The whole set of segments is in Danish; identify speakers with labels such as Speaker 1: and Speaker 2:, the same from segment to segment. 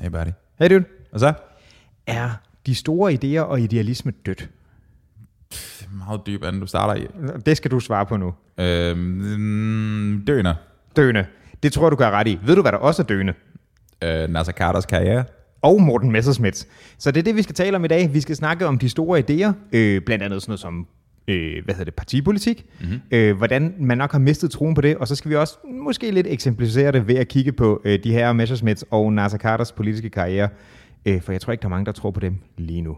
Speaker 1: Hey buddy. Hey dude. Og så?
Speaker 2: Er de store idéer og idealisme dødt?
Speaker 1: Det er meget dyb, anden du starter i.
Speaker 2: Det skal du svare på nu.
Speaker 1: Øhm, døner.
Speaker 2: Døende. Det tror jeg, du gør ret i. Ved du, hvad der også er døende?
Speaker 1: Øh, Nasser Carters karriere.
Speaker 2: og Morten Messerschmidt. Så det er det, vi skal tale om i dag. Vi skal snakke om de store idéer, øh, blandt andet sådan noget som øh, hvad hedder det, partipolitik, mm-hmm. øh, hvordan man nok har mistet troen på det, og så skal vi også måske lidt eksemplificere det ved at kigge på øh, de her Messerschmidts og Nasser Carters politiske karriere, øh, for jeg tror ikke, der er mange, der tror på dem lige nu.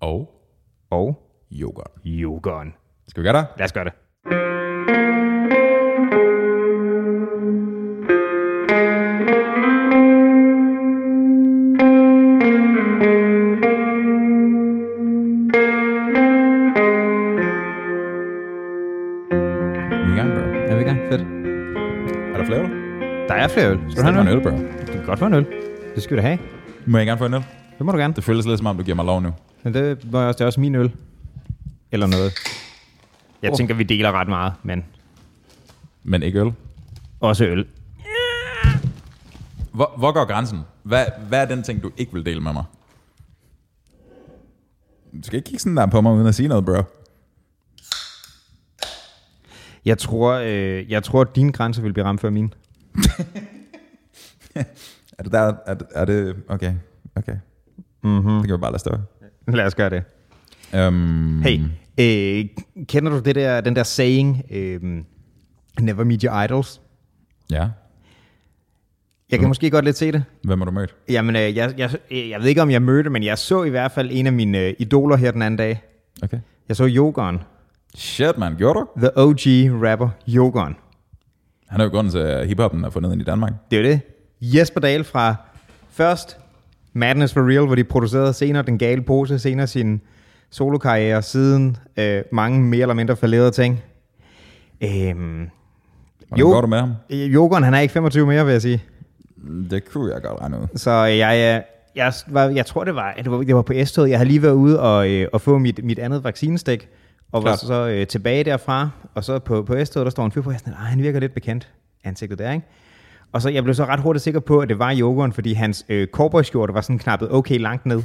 Speaker 1: Og
Speaker 2: Og
Speaker 1: yoghurt.
Speaker 2: yogaen.
Speaker 1: Skal vi gøre det?
Speaker 2: Lad os gøre det.
Speaker 1: Vi er i gang, bro.
Speaker 2: Er vi i gang? Fedt.
Speaker 1: Er der flere?
Speaker 2: Der er flere øl. Skal
Speaker 1: Skal du have en
Speaker 2: øl?
Speaker 1: øl, bro?
Speaker 2: Du kan godt få en øl. Det skal du da have.
Speaker 1: Må jeg gerne få en øl?
Speaker 2: Det må du gerne.
Speaker 1: Det føles lidt som om, du giver mig lov nu.
Speaker 2: Men det, var også, det er også min øl. Eller noget. Jeg oh. tænker, vi deler ret meget, men
Speaker 1: Men ikke øl.
Speaker 2: også øl.
Speaker 1: Hvor, hvor går grænsen? Hvad, hvad er den ting, du ikke vil dele med mig? Du skal ikke kigge sådan der på mig, uden at sige noget, bro.
Speaker 2: Jeg tror, øh, jeg tror, at dine grænser vil blive ramt før mine.
Speaker 1: Er det der? Er det, er det okay, okay. Mm-hmm. Det kan vi bare lade stå.
Speaker 2: Lad os gøre det.
Speaker 1: Um,
Speaker 2: Hey, øh, kender du det der, den der saying, øh, never meet your idols?
Speaker 1: Ja.
Speaker 2: Jeg kan mm. måske godt lidt se det.
Speaker 1: Hvem har du mødt?
Speaker 2: Jamen, øh, jeg, jeg, øh, jeg ved ikke, om jeg mødte, men jeg så i hvert fald en af mine øh, idoler her den anden dag.
Speaker 1: Okay.
Speaker 2: Jeg så Yogon,
Speaker 1: Shit, man. Gjorde du?
Speaker 2: the OG rapper Yogon.
Speaker 1: Han er jo grunden til, at hiphoppen er fundet ind i Danmark.
Speaker 2: Det er jo det. Jesper Dahl fra først Madness for Real, hvor de producerede senere Den Gale Pose, senere sin solokarriere, siden øh, mange mere eller mindre falderede ting. Øhm,
Speaker 1: Hvordan jo. går du med ham?
Speaker 2: Jokeren, han er ikke 25 mere, vil jeg sige.
Speaker 1: Det kunne jeg godt regne ud.
Speaker 2: Så jeg, øh, jeg, var, jeg tror, det var, det var, det var på S-toget. Jeg havde lige været ude og, øh, og få mit, mit andet vaccinestik, og var
Speaker 1: Klart.
Speaker 2: så øh, tilbage derfra, og så på, på S-toget, der står en fyr på, og jeg er sådan, "Ej, han virker lidt bekendt, ansigtet der, ikke? Og så jeg blev så ret hurtigt sikker på, at det var yogeren, fordi hans øh, cowboyskjorte var sådan knappet okay langt ned.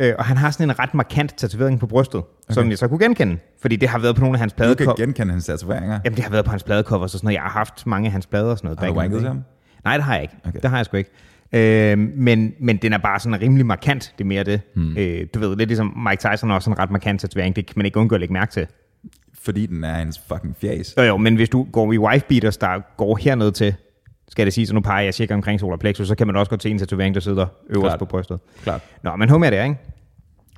Speaker 2: øh, og han har sådan en ret markant tatovering på brystet, okay. som jeg så kunne genkende, fordi det har været på nogle af hans
Speaker 1: Du kan
Speaker 2: pladekop.
Speaker 1: genkende hans tatoveringer.
Speaker 2: Jamen, det har været på hans pladecover, og sådan noget. Jeg har haft mange af hans plader og sådan noget.
Speaker 1: Har du
Speaker 2: back in the
Speaker 1: wanket
Speaker 2: day.
Speaker 1: til ham?
Speaker 2: Nej, det har jeg ikke.
Speaker 1: Okay.
Speaker 2: Okay. Det har jeg sgu ikke. Øh, men, men den er bare sådan rimelig markant, det er mere det. Hmm. Øh, du ved, lidt ligesom Mike Tyson har også en ret markant tatovering, det kan man ikke undgå at lægge mærke til.
Speaker 1: Fordi den er hans fucking fjas.
Speaker 2: Jo, jo, men hvis du går i wife beaters, der går hernede til, skal det sige, så nu peger jeg cirka omkring solar plexus, så kan man også godt se en tatovering, der sidder øverst
Speaker 1: Klart.
Speaker 2: på brystet.
Speaker 1: Klart.
Speaker 2: Nå, men hum er det, ikke?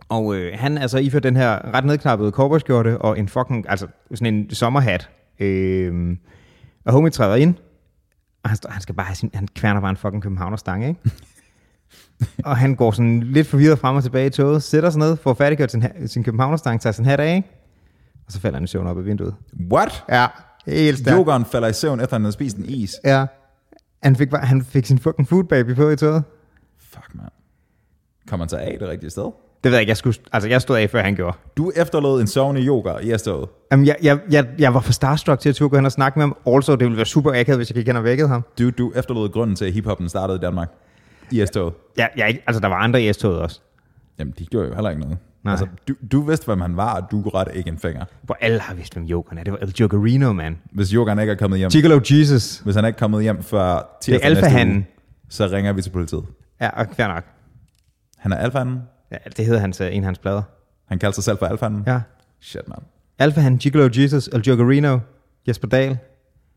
Speaker 2: Og øh, han altså iført den her ret nedknappede cowboyskjorte og en fucking, altså sådan en sommerhat. Øh, og homie træder ind, og han, står- han skal bare have sin, han kværner bare en fucking københavnerstange, ikke? og han går sådan lidt forvirret frem og tilbage i toget, sætter sig ned, får færdiggjort sin, ha- sin københavnerstange, tager sin hat af, ikke? Og så falder han i søvn op ad vinduet.
Speaker 1: What?
Speaker 2: Ja, helt stærkt.
Speaker 1: Jokeren falder i søvn, efter han har spist en is.
Speaker 2: Ja. Han fik, bare- han fik sin fucking food baby på i toget.
Speaker 1: Fuck, man. Kommer han så af det rigtige sted?
Speaker 2: Det ved jeg ikke, jeg skulle, altså jeg stod af, før han gjorde.
Speaker 1: Du efterlod en sovende yoghurt i S-toget.
Speaker 2: Jamen, jeg, jeg, jeg, jeg var for starstruck til at turde gå hen og snakke med ham. Also, det ville være super akavet, hvis jeg gik hen og vækkede ham.
Speaker 1: Du, du efterlod grunden til, at hiphoppen startede i Danmark. I S-toget.
Speaker 2: Jeg, jeg, er ikke- altså, der var andre i S-toget også.
Speaker 1: Jamen, de gjorde jo heller ikke noget. Altså,
Speaker 2: Nej.
Speaker 1: du, du vidste, hvem han var, og du rette ikke en finger.
Speaker 2: Hvor alle har vidst, hvem Jokeren er. Det var El Jokerino, man.
Speaker 1: Hvis yoghurt ikke er kommet hjem,
Speaker 2: Gigolo Jesus.
Speaker 1: hvis han er ikke er kommet hjem før
Speaker 2: Det er
Speaker 1: tirsdag næste
Speaker 2: alfahanden.
Speaker 1: uge, så ringer vi til politiet.
Speaker 2: Ja, og fair nok.
Speaker 1: Han er alfahanden.
Speaker 2: Ja, det hedder hans, øh, en af hans plader.
Speaker 1: Han kalder sig selv for alfahanden.
Speaker 2: Ja.
Speaker 1: Shit, man.
Speaker 2: Alpha Han, Gigolo Jesus, El Jokerino, Jesper Dahl.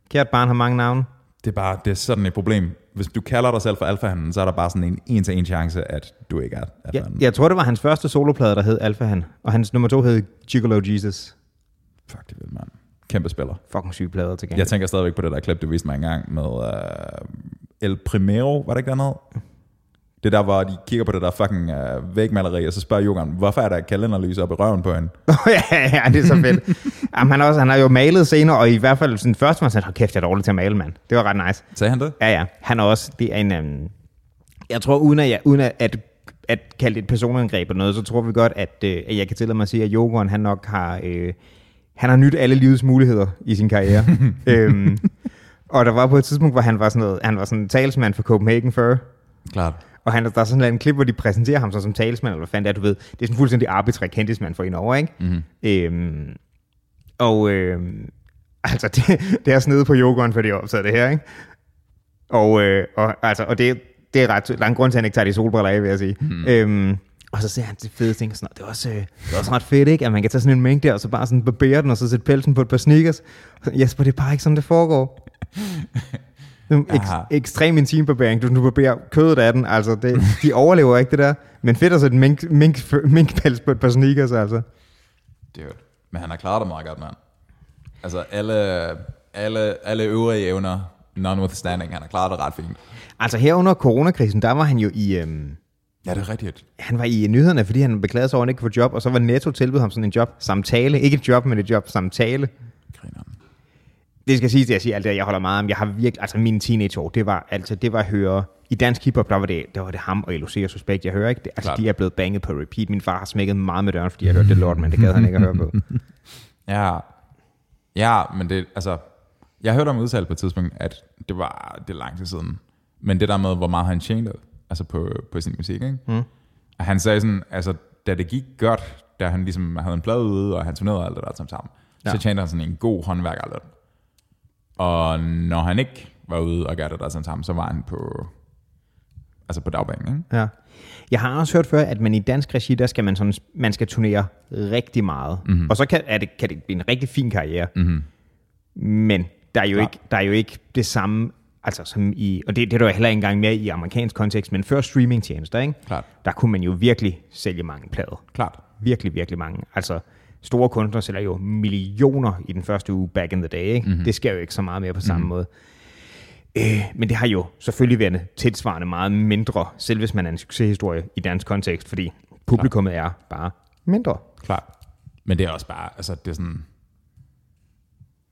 Speaker 2: Kært barn har mange navne.
Speaker 1: Det er bare det er sådan et problem. Hvis du kalder dig selv for alfahanden, så er der bare sådan en en-til-en chance, at du ikke er
Speaker 2: Ja,
Speaker 1: alfahanden.
Speaker 2: jeg tror, det var hans første soloplade, der hed Alpha Han. Og hans nummer to hed Gigolo Jesus.
Speaker 1: Fuck, det er vildt, mand. Kæmpe spiller.
Speaker 2: Fucking syge plader til gengæld.
Speaker 1: Jeg tænker stadigvæk på det der klip, du viste mig engang med uh, El Primero, var det ikke dernede? Det der, hvor de kigger på det der fucking uh, vægmaleri, og så spørger Jokeren, hvorfor er der et kalenderlys op i røven på hende?
Speaker 2: ja, ja, det er så fedt. Jamen, han, er også, han har jo malet senere, og i hvert fald sådan først var han sådan, "Hold kæft, jeg er dårlig til at male, mand. Det var ret nice.
Speaker 1: Sagde han det?
Speaker 2: Ja, ja. Han er også, det er en, øhm, jeg tror, uden at, jeg, uden at, at, at kalde det et personangreb eller noget, så tror vi godt, at, øh, at jeg kan tillade mig at sige, at Jokeren, han nok har, øh, han har nyt alle livets muligheder i sin karriere. øhm, og der var på et tidspunkt, hvor han var sådan noget, han var sådan en talsmand for Copenhagen Fur,
Speaker 1: Klart.
Speaker 2: Og han, der er sådan en klip, hvor de præsenterer ham så som talsmand, eller hvad fanden det er, du ved. Det er sådan fuldstændig arbitrær kendtismand for en over, ikke?
Speaker 1: Mhm.
Speaker 2: Mm-hmm. Øhm, og øhm, altså, det, det er snedet på yoghurt, fordi jeg optaget det her, ikke? Og, øh, og, altså, og det, det er ret, der er en grund til, at han ikke tager de solbriller af, vil jeg sige. Mm. Øhm, og så ser han det fede ting, og sådan, "Nå, det er, også, øh, det er også ret fedt, ikke? At man kan tage sådan en mængde der, og så bare sådan barbere den, og så sætte pelsen på et par sneakers. Og Jesper, det er bare ikke sådan, det foregår. Sådan en
Speaker 1: Aha.
Speaker 2: Ek- ekstrem intim barbering. Du, du barberer kødet af den. Altså, det, de overlever ikke det der. Men fedt at sætte en mink, mink, minkpels på et par sneakers, altså.
Speaker 1: Det er jo- Men han har klaret det meget godt, mand. Altså alle, alle, alle øvrige evner, notwithstanding, han har klaret det ret fint.
Speaker 2: Altså her under coronakrisen, der var han jo i... Øhm,
Speaker 1: Ja, det er rigtigt.
Speaker 2: han var i nyhederne, fordi han beklagede sig over, at han ikke kunne få job, og så var Netto tilbud ham sådan en job samtale. Ikke et job, men et job samtale.
Speaker 1: Grineren.
Speaker 2: Det skal siges, at jeg siger alt det, jeg holder meget om. Jeg har virkelig, altså mine teenageår, det var, altså, det var at høre, i dansk hiphop, der var det, der var det ham og LOC og Suspekt, jeg hører ikke. Det, altså,
Speaker 1: Klart.
Speaker 2: de er blevet banget på repeat. Min far har smækket meget med døren, fordi jeg hørte det lort, men det gad han ikke at høre på.
Speaker 1: Ja. Ja, men det, altså, jeg hørte om udtale på et tidspunkt, at det var det er lang tid siden. Men det der med, hvor meget han tjente, altså på, på sin musik, ikke? Mm. Og han sagde sådan, altså, da det gik godt, da han ligesom havde en plade ude, og han turnerede og alt det der som sammen, ja.
Speaker 2: Ja.
Speaker 1: så tjente han sådan en god håndværkerløn. Og når han ikke var ude og gav det der som sammen, så var han på, altså på dagbanen, ikke?
Speaker 2: Ja. Jeg har også hørt før, at man i dansk regi, der skal man, sådan, man skal turnere rigtig meget.
Speaker 1: Mhm.
Speaker 2: Mm-hmm. Og så kan, er det, kan det blive en rigtig fin karriere. Mm-hmm. Men der er, jo
Speaker 1: Ja.
Speaker 2: ikke, der er jo ikke det samme, altså som i, og det, det er der jo heller ikke engang mere i amerikansk kontekst, men før streamingtjenester, ikke?
Speaker 1: Klart.
Speaker 2: der kunne man jo virkelig sælge mange plader.
Speaker 1: Klart.
Speaker 2: Virkelig, virkelig mange. Altså, store kunstnere sælger jo millioner i den første uge back in the day. Ikke?
Speaker 1: Mhm.
Speaker 2: Mm-hmm. Det sker jo ikke så meget mere på samme mm-hmm. måde. Øh, men det har jo selvfølgelig været tilsvarende meget mindre, selv hvis man er en succeshistorie i dansk kontekst, fordi publikummet er bare mindre.
Speaker 1: Klart. Men det er også bare, altså det er sådan,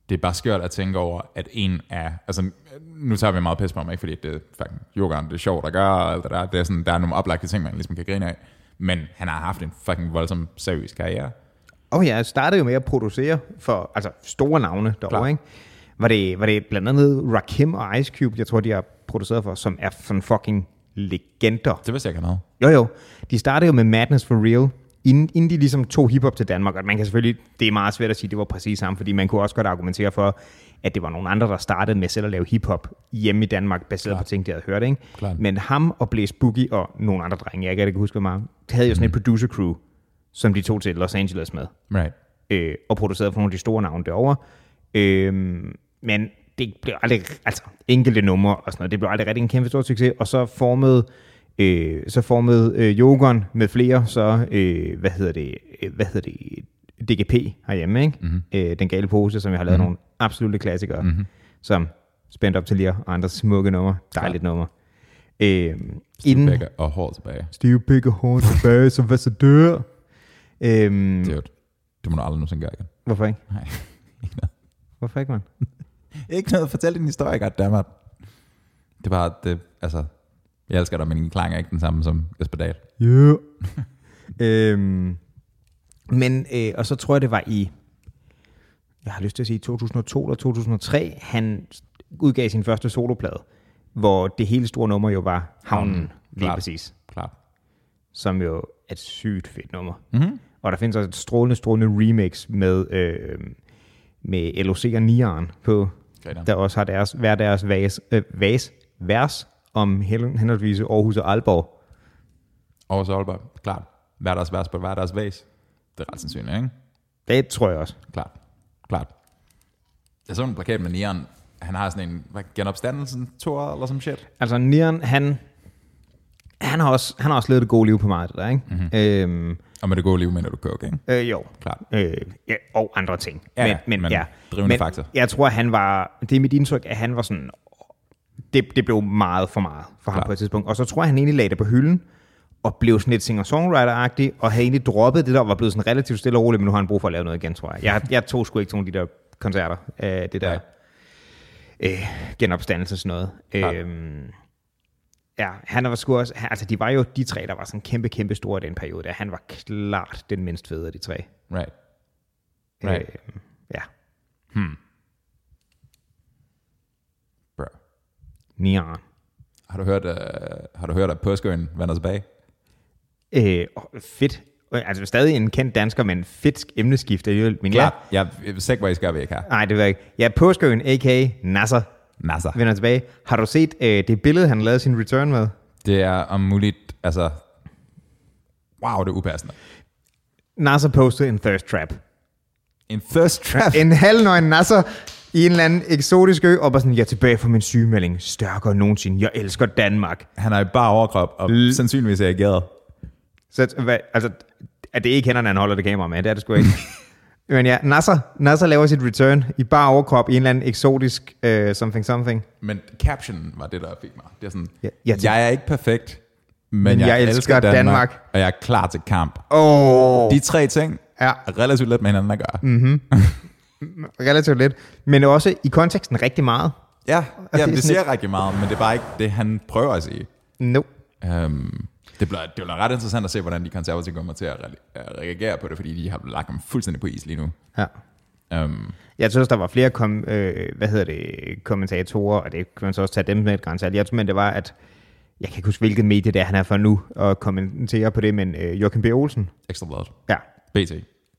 Speaker 1: det er bare skørt at tænke over, at en af, altså nu tager vi meget pis på mig, ikke fordi det er fucking yogaen, det er sjovt at gøre, og alt det der, det er sådan, der er nogle oplagte ting, man ligesom kan grine af, men han har haft en fucking voldsom seriøs karriere.
Speaker 2: Og jeg startede jo med at producere for altså store navne
Speaker 1: Klar.
Speaker 2: derovre, ikke? Var det, var det blandt andet Rakim og Ice Cube, jeg tror, de har produceret for, som er sådan fucking legender.
Speaker 1: Det vidste jeg ikke, han havde.
Speaker 2: Jo, jo. De startede jo med Madness for Real, inden, inden de ligesom tog hiphop til Danmark. Og man kan selvfølgelig, det er meget svært at sige, at det var præcis samme, fordi man kunne også godt argumentere for, at det var nogle andre, der startede med selv at lave hiphop hjemme i Danmark, baseret Klar. på ting, de havde hørt. Ikke?
Speaker 1: Klart.
Speaker 2: Men ham og Blaze Boogie og nogle andre drenge, jeg ikke rigtig kan huske, hvor meget, havde jo sådan et producer crew, som de tog til Los Angeles med
Speaker 1: Right.
Speaker 2: øh, og produceret for nogle af de store navne derovre. Øh, men det blev aldrig, altså enkelte numre og sådan noget, det blev aldrig rigtig en kæmpe stor succes, og så formede øh, så formede øh, Jokeren med flere, så, øh, hvad hedder det, øh, hvad hedder det, DGP herhjemme, ikke? Mm-hmm. Øh, den gale pose, som jeg har lavet mm-hmm. nogle absolutte klassikere,
Speaker 1: Mhm.
Speaker 2: mm-hmm. som Spændt op til lige og andre smukke numre, dejligt nummer. Øh, inden
Speaker 1: Begge og hår tilbage.
Speaker 2: Steve Picker hårdt tilbage, som hvad så dør. Øhm,
Speaker 1: Det, er jo- det må du aldrig nogensinde gøre igen.
Speaker 2: hvorfor ikke?
Speaker 1: Nej.
Speaker 2: Hvorfor ikke, man?
Speaker 1: ikke noget, fortæl din historie godt, dammert. Det er bare, det, altså, jeg elsker dig, men din klang er ikke den samme som Jesper Dahl.
Speaker 2: Yeah. øhm, men, øh, og så tror jeg, det var i, jeg har lyst til at sige 2002 eller 2003, han udgav sin første soloplade, hvor det hele store nummer jo var Havnen,
Speaker 1: Havnen,
Speaker 2: mm, lige
Speaker 1: klart.
Speaker 2: præcis,
Speaker 1: Klart.
Speaker 2: som jo er et sygt fedt nummer.
Speaker 1: Mm-hmm.
Speaker 2: Og der findes også et strålende, strålende remix med, øh, med LOC og Nieren på,
Speaker 1: Griner.
Speaker 2: der også har deres, hver deres vas, øh, vas, vers om hen- henholdsvis Aarhus og Aalborg.
Speaker 1: Aarhus og Aalborg, klart. Hver deres vers på hver deres væs. Det er ret sandsynligt, ikke?
Speaker 2: Det tror jeg også.
Speaker 1: Klart. Klart. Jeg så en plakat med Nieren. Han har sådan en hvad, genopstandelsen tour eller sådan shit.
Speaker 2: Altså Nieren, han, han, har også, han har også levet det gode liv på meget, det der, ikke? Mm-hmm. Øhm,
Speaker 1: Og med det gode liv, mener du coke, ikke?
Speaker 2: øh, jo.
Speaker 1: Klart.
Speaker 2: Øh, ja, og andre ting.
Speaker 1: Ja, ja, men drivende
Speaker 2: men
Speaker 1: faktor.
Speaker 2: Jeg tror, han var, det er mit indtryk, at han var sådan, det, det blev meget for meget for ham
Speaker 1: Klart.
Speaker 2: på et tidspunkt. Og så tror jeg, han egentlig lagde det på hylden, og blev sådan lidt singer-songwriter-agtig, og havde egentlig droppet det der, og var blevet sådan relativt stille og roligt, men nu har han brug for at lave noget igen, tror jeg. Jeg, jeg tog sgu ikke nogen af de der koncerter, øh, det der
Speaker 1: Nej.
Speaker 2: øh, genopstandelse og sådan noget.
Speaker 1: Klart.
Speaker 2: Øhm, ja, han var sgu også, han- altså de var jo de tre, der var sådan kæmpe, kæmpe store i den periode, der. han var klart den mindst fede af de tre.
Speaker 1: Right. Right.
Speaker 2: Øh, ja,
Speaker 1: Bro.
Speaker 2: Nian.
Speaker 1: Har du hørt, øh, har du hørt at Påskøen vender tilbage?
Speaker 2: Øh, åh, fedt. Øh, Altså stadig en kendt dansker, men fedt emneskift alligevel. Men ja,
Speaker 1: Ja, jeg, Segway skal vi ikke have.
Speaker 2: nej, det ved jeg ikke. Ja, påskøen, a.k.a. Nasser,
Speaker 1: Nasser.
Speaker 2: vender tilbage. Har du set øh, det billede, han lavede sin return med?
Speaker 1: Det er om muligt, altså... Wow, det er upassende.
Speaker 2: Nasser postede en thirst trap.
Speaker 1: En thirst trap.
Speaker 2: En halvnøgen Nasser i en eller anden eksotisk ø, og bare sådan, jeg er tilbage fra min sygemelding. Stærkere end nogensinde. Jeg elsker Danmark.
Speaker 1: Han har bare overkrop, og L- sandsynligvis er jeg gæret.
Speaker 2: Så hvad, altså, at det ikke hænderne, han holder det kamera med, det er det sgu ikke. Men ja, Nasser, Nasser laver sit return i bare overkrop i en eller anden eksotisk øh, something something.
Speaker 1: Men captionen var det, der fik mig. Det er sådan, ja,
Speaker 2: Ja, jeg
Speaker 1: jeg,
Speaker 2: tænker-
Speaker 1: jeg er ikke perfekt, men, men jeg, jeg elsker, elsker Danmark, Danmark, og jeg er klar til kamp.
Speaker 2: Åh, oh,
Speaker 1: De tre ting
Speaker 2: Ja.
Speaker 1: er relativt let med hinanden at gøre. Mm.
Speaker 2: relativt lidt. Men også i konteksten rigtig meget.
Speaker 1: Ja,
Speaker 2: det er
Speaker 1: ja det, det
Speaker 2: sådan
Speaker 1: siger rigtig meget, men det er bare ikke det, han prøver at sige.
Speaker 2: No.
Speaker 1: Um, det bliver, det bliver ret interessant at se, hvordan de konservative kommer til at re- at reagere på det, fordi de har lagt dem fuldstændig på is lige nu.
Speaker 2: Ja.
Speaker 1: Um,
Speaker 2: Jeg synes, der var flere kom, øh, hvad hedder det, kommentatorer, og det kan man så også tage dem med et grænsealt. Jeg tror, men det var, at jeg kan ikke huske, hvilket medie det er, han er for nu og kommentere på det, men øh, Joachim B. Olsen.
Speaker 1: Ekstrabladet.
Speaker 2: Ja,
Speaker 1: BT.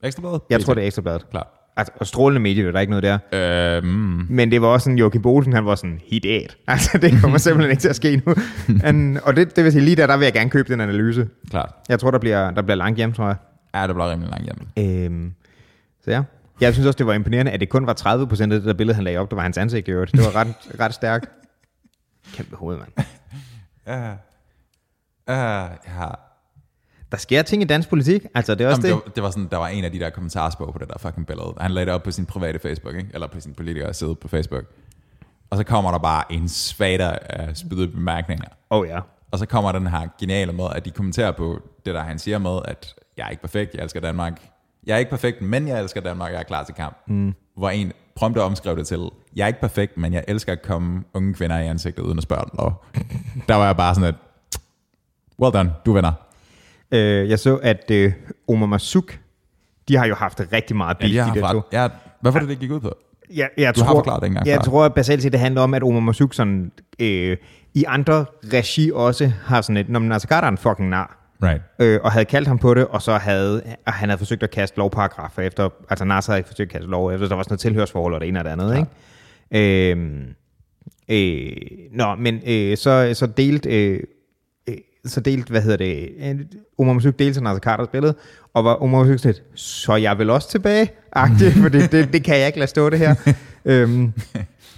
Speaker 1: Ekstrabladet?
Speaker 2: jeg
Speaker 1: BT.
Speaker 2: tror, det er Ekstrabladet.
Speaker 1: Klart.
Speaker 2: Altså, og strålende medie, der er ikke noget der.
Speaker 1: Øhm,
Speaker 2: Men det var også sådan, Joachim Bolsen, han var sådan, he dead. Altså, det kommer simpelthen ikke til at ske nu. Han, og det, det vil sige, lige der, der vil jeg gerne købe den analyse.
Speaker 1: klart.
Speaker 2: Jeg tror, der bliver, der bliver langt hjem, tror jeg.
Speaker 1: Ja, det bliver rimelig langt hjem.
Speaker 2: Øhm, så ja. Jeg synes også, det var imponerende, at det kun var 30 procent af det der billede, han lagde op, der var hans ansigt i øvrigt. Det var ret, ret stærkt. Kæmpe hoved, mand.
Speaker 1: Ja. Uh, ja.
Speaker 2: Der sker ting i dansk politik. Altså, det er også
Speaker 1: Jamen, det,
Speaker 2: Jamen, det.
Speaker 1: var, det var sådan, der var en af de der kommentarspår på det der fucking billede. Han lagde det op på sin private Facebook, ikke? eller på sin politikers side på Facebook. Og så kommer der bare en svater af spydede bemærkninger.
Speaker 2: Åh oh, ja.
Speaker 1: Og så kommer den her geniale med, at de kommenterer på det der, han siger med, at jeg er ikke perfekt, jeg elsker Danmark. Jeg er ikke perfekt, men jeg elsker Danmark, jeg er klar til kamp. Mm. Hvor en prompte omskrev det til, jeg er ikke perfekt, men jeg elsker at komme unge kvinder i ansigtet uden at spørge dem. Og der var jeg bare sådan et, well done, du vinder.
Speaker 2: Øh, jeg så, at øh, Omar Masuk, de har jo haft rigtig meget beef,
Speaker 1: Ja,
Speaker 2: de
Speaker 1: de
Speaker 2: der to.
Speaker 1: har ja, hvad var det, det gik ud på?
Speaker 2: Jeg, jeg
Speaker 1: Du
Speaker 2: tror,
Speaker 1: har forklaret det ikke engang
Speaker 2: Jeg
Speaker 1: før.
Speaker 2: tror at basalt set, det handler om, at Omar Masuk sådan, øh, i andre regi også har sådan et, når man altså Carter er en fucking nar,
Speaker 1: Right.
Speaker 2: øh, og havde kaldt ham på det, og så havde og han havde forsøgt at kaste lovparagrafer efter, altså Nasser havde forsøgt at kaste lov efter, der var sådan noget tilhørsforhold og det ene og det andet, ja. ikke? Øhm, øh, nå, men øh, så, så delt, øh, øh, så delt, hvad hedder det, øh, Omar Masuk delte sig Nasser Carters billede, og var Omar Masuk sådan lidt, så er jeg vil også tilbage, agtig, for det, det, det, kan jeg ikke lade stå det her. øhm,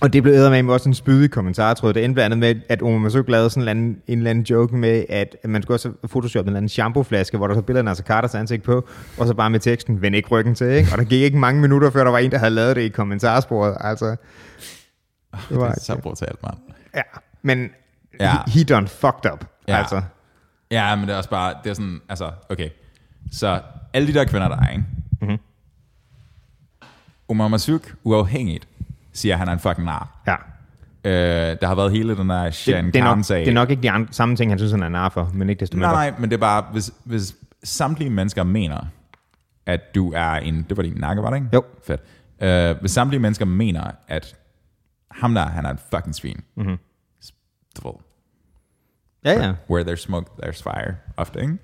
Speaker 2: og det blev eddermame også en spydig kommentar, tror jeg. Det endte blandt andet med, at Omar Masuk lavede sådan en eller, anden, en eller anden joke med, at man skulle også photoshoppe en eller anden shampooflaske, hvor der så billederne af Carters ansigt på, og så bare med teksten, vend ikke ryggen til, ikke? Og der gik ikke mange minutter, før der var en, der havde lavet det i kommentarsporet, altså. Det
Speaker 1: Det
Speaker 2: var,
Speaker 1: er så brutalt, mand.
Speaker 2: ja, men ja.
Speaker 1: Ja.
Speaker 2: he done fucked up, ja.
Speaker 1: Ja.
Speaker 2: altså.
Speaker 1: Ja, men det er også bare, det er sådan, altså, okay. Så alle de der kvinder, der er, ikke? Mm-hmm.
Speaker 2: Mhm.
Speaker 1: Omar Masuk, uafhængigt, siger, at han er en fucking nar.
Speaker 2: Ja.
Speaker 1: Øh, der har været hele den der Shan
Speaker 2: det, er nok,
Speaker 1: Khan-sag.
Speaker 2: det er nok ikke de andre, samme ting, han synes, han er nar for, men ikke desto mindre.
Speaker 1: Nej, nej, men det er bare, hvis, hvis samtlige mennesker mener, at du er en... Det var din nakke, var det ikke?
Speaker 2: Jo.
Speaker 1: Fedt. Øh, hvis samtlige mennesker mener, at ham der, han er en fucking svin.
Speaker 2: Mhm.
Speaker 1: Mm-hmm.
Speaker 2: Ja, ja,
Speaker 1: Where there's smoke, there's fire. Ofte, ikke?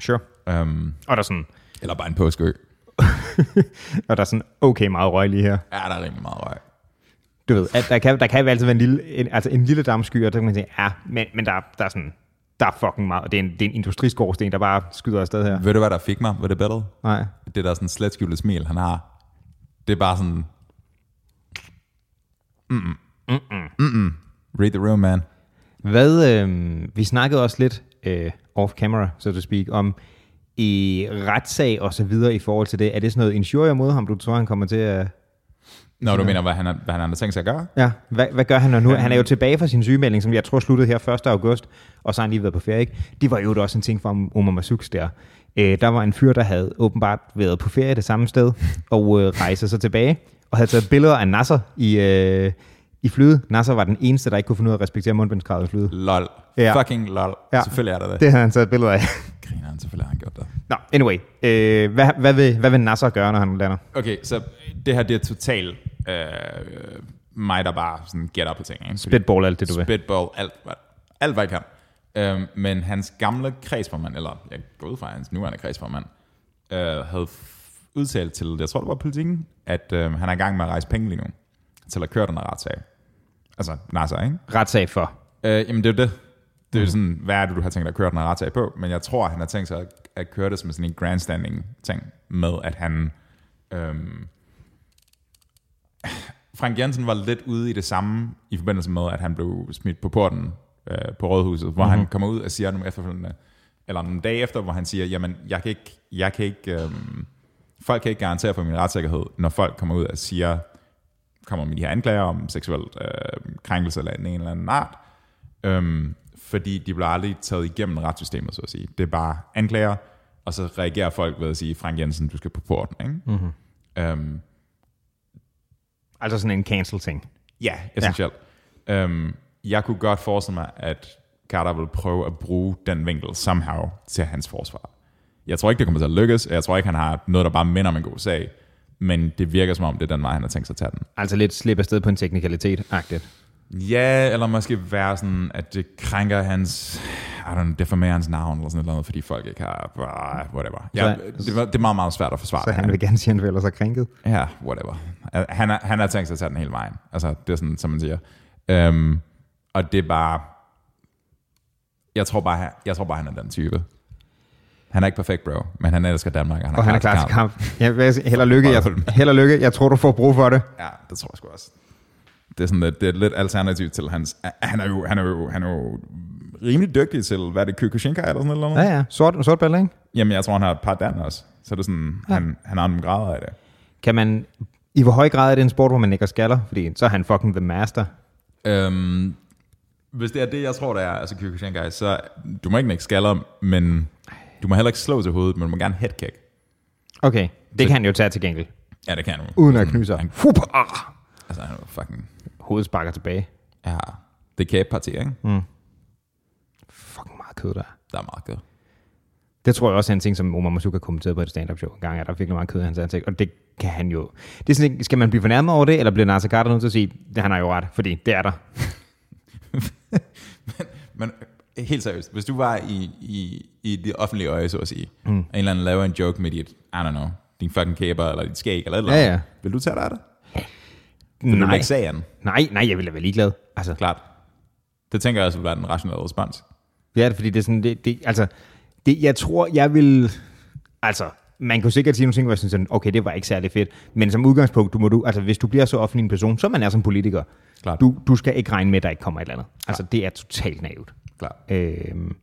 Speaker 2: sure.
Speaker 1: Um,
Speaker 2: Og der er sådan,
Speaker 1: eller bare en påskeø.
Speaker 2: og der er sådan okay meget røg lige her.
Speaker 1: Ja, der er rimelig meget røg.
Speaker 2: du ved, at der kan, der kan jo altid være en lille, en, altså en lille dammsky, og der kan man sige, ja, men, men der, der er sådan, der er fucking meget, og det er en, det er en industriskorsten, der bare skyder afsted her.
Speaker 1: Ved du, hvad der fik mig ved det battle?
Speaker 2: Nej.
Speaker 1: Det der sådan slet skjulte smil, han har. Det er bare sådan... Mm-mm. Mm-mm. Mm-mm. Read the room, man.
Speaker 2: Hvad, øh, vi snakkede også lidt øh, off camera, så to speak, om i retssag og så videre i forhold til det. Er det sådan noget injurier mod ham, du tror, han kommer til at...
Speaker 1: Nå, du mener, hvad han, har- hvad han har tænkt sig at gøre?
Speaker 2: Ja, hvad, hvad gør han når nu? Han er jo tilbage fra sin sygemelding, som jeg tror sluttede her 1. august, og så har han lige været på ferie. Ikke? Det var jo også en ting fra Omar Masuks der. Øh, der var en fyr, der havde åbenbart været på ferie det samme sted, og øh, rejser så tilbage, og havde taget billeder af Nasser i, øh, i flyet. Nasser var den eneste, der ikke kunne finde ud af at respektere mundbindskravet i flyet.
Speaker 1: Lol.
Speaker 2: Ja.
Speaker 1: Ja. Fucking lol.
Speaker 2: Ja.
Speaker 1: Ja. Selvfølgelig er der det. det.
Speaker 2: Det havde han taget billeder af.
Speaker 1: Griner han, selvfølgelig har han gjort det.
Speaker 2: Nå, anyway. Øh, hvad, hvad, vil, hvad vil Nasser gøre, når han lander?
Speaker 1: Okay, så det her, det er totalt øh, mig, der bare sådan gætter på ting. Ikke? Fordi
Speaker 2: Spitball alt det, du vil.
Speaker 1: Spitball, alt, hvad, alt hvad jeg kan. Øhm, men hans gamle kredsformand, eller jeg går ud fra at hans nuværende kredsformand, øh, havde f- udtalt til, jeg tror det var politikken, at øh, han er i gang med at rejse penge lige nu, til at køre den her retssag. Altså NASA, ikke?
Speaker 2: Retssag for.
Speaker 1: Øh, jamen det er jo det. Det er jo sådan, hvad er det, du har tænkt dig at køre den her retssag på? Men jeg tror, han har tænkt sig at, at køre det som sådan en grandstanding-ting, med at han... Øhm, Frank Jensen var lidt ude i det samme, i forbindelse med, at han blev smidt på porten øh, på Rådhuset, hvor mm-hmm. han kommer ud og siger nogle efterfølgende, eller nogle dage efter, hvor han siger, jamen, jeg kan ikke, jeg kan ikke øhm, folk kan ikke garantere for min retssikkerhed, når folk kommer ud og siger, kommer med de her anklager om seksuel øh, krænkelse eller en eller anden art, øhm, fordi de bliver aldrig taget igennem retssystemet, så at sige. Det er bare anklager, og så reagerer folk ved at sige, Frank Jensen, du skal på porten, ikke? Mm-hmm. Øhm,
Speaker 2: Altså sådan en cancel-ting.
Speaker 1: ja, essentielt. Ja. Øhm, jeg kunne godt forestille mig, at Carter vil prøve at bruge den vinkel somehow til hans forsvar. Jeg tror ikke, det kommer til at lykkes, og jeg tror ikke, han har noget, der bare minder om en god sag, men det virker som om, det er den vej, han har tænkt sig at tage den.
Speaker 2: Altså lidt slippe afsted på en teknikalitet-agtigt.
Speaker 1: Ja, eller måske være sådan, at det krænker hans, I don't know, deformerer hans navn eller sådan noget, fordi folk ikke har, ah, whatever. Ja,
Speaker 2: Så-
Speaker 1: det, var- det er meget, meget svært at forsvare.
Speaker 2: Så han vil gerne sige, at han føler sig krænket.
Speaker 1: Ja, whatever. Han har, han har tænkt sig at tage den hele vejen. Altså, det er sådan, som man siger. Øhm, og det er bare... Jeg tror bare, han- jeg tror bare, han er den type. Han er ikke perfekt, bro, men han elsker Danmark, og han er,
Speaker 2: Og han er klar til kamp. Ja, hvad- held og lykke. Jeg, held og lykke. Jeg tror, du får brug for det.
Speaker 1: Ja, det tror jeg sgu også. Det er sådan lidt, det er lidt alternativ til hans... Han er jo, han er jo, han er jo rimelig dygtig til, hvad er det, Kykushinka eller sådan noget? Ja.
Speaker 2: Ja, ja. Sort, sort bælte, ikke?
Speaker 1: Jamen, jeg tror, han har et par dan også. Så det er sådan, ja. han, han har nogle grader af det.
Speaker 2: Kan man... I hvor høj grad er det en sport, hvor man ikke er skaller? Fordi så er han fucking the master.
Speaker 1: Øhm, hvis det er det, jeg tror, det er, altså Kyokushinkai, så du må ikke nække skaller, men du må heller ikke slå til hovedet, men du må gerne headkick.
Speaker 2: Okay, det kan han jo tage til gengæld.
Speaker 1: Ja, det kan du.
Speaker 2: Uden at knuse sig. Fup, ah.
Speaker 1: Altså, han er jo fucking...
Speaker 2: Hovedet sparker tilbage.
Speaker 1: Ja, det er kæbeparti, ikke? Mm.
Speaker 2: Fucking meget kød der. er.
Speaker 1: Der er meget kød.
Speaker 2: Det tror jeg også er en ting, som Omar Masuka kommenterede på et stand-up show en gang, at der er virkelig meget kød i hans ansigt, og det kan han jo. Det er sådan, ikke- skal man blive fornærmet over det, eller bliver Nasser Carter nødt til at sige, at han har jo ret, fordi det er der.
Speaker 1: Men øh, helt seriøst, hvis du var i, i, i det offentlige øje, så at sige, mm. og en eller anden laver en joke med dit, I don't know, din fucking kæber, eller dit skæg, eller et eller
Speaker 2: Ja,
Speaker 1: andet,
Speaker 2: ja.
Speaker 1: vil du tage dig af det? Vil du
Speaker 2: Nej,
Speaker 1: lægge sagen?
Speaker 2: nej, nej, jeg ville da være ligeglad. Altså,
Speaker 1: Klart. Det tænker jeg også vil være den rationelle respons.
Speaker 2: det er det, fordi det er sådan, det, det altså, det, jeg tror, jeg vil, altså, man kunne sikkert sige nogle ting, hvor jeg synes, sådan, okay, det var ikke særlig fedt, men som udgangspunkt, du må du, altså, hvis du bliver så offentlig en person, som man er som politiker,
Speaker 1: Klart.
Speaker 2: du, du skal ikke regne med, at der ikke kommer et eller andet. Altså, det er totalt naivt.
Speaker 1: Klart.
Speaker 2: Øhm,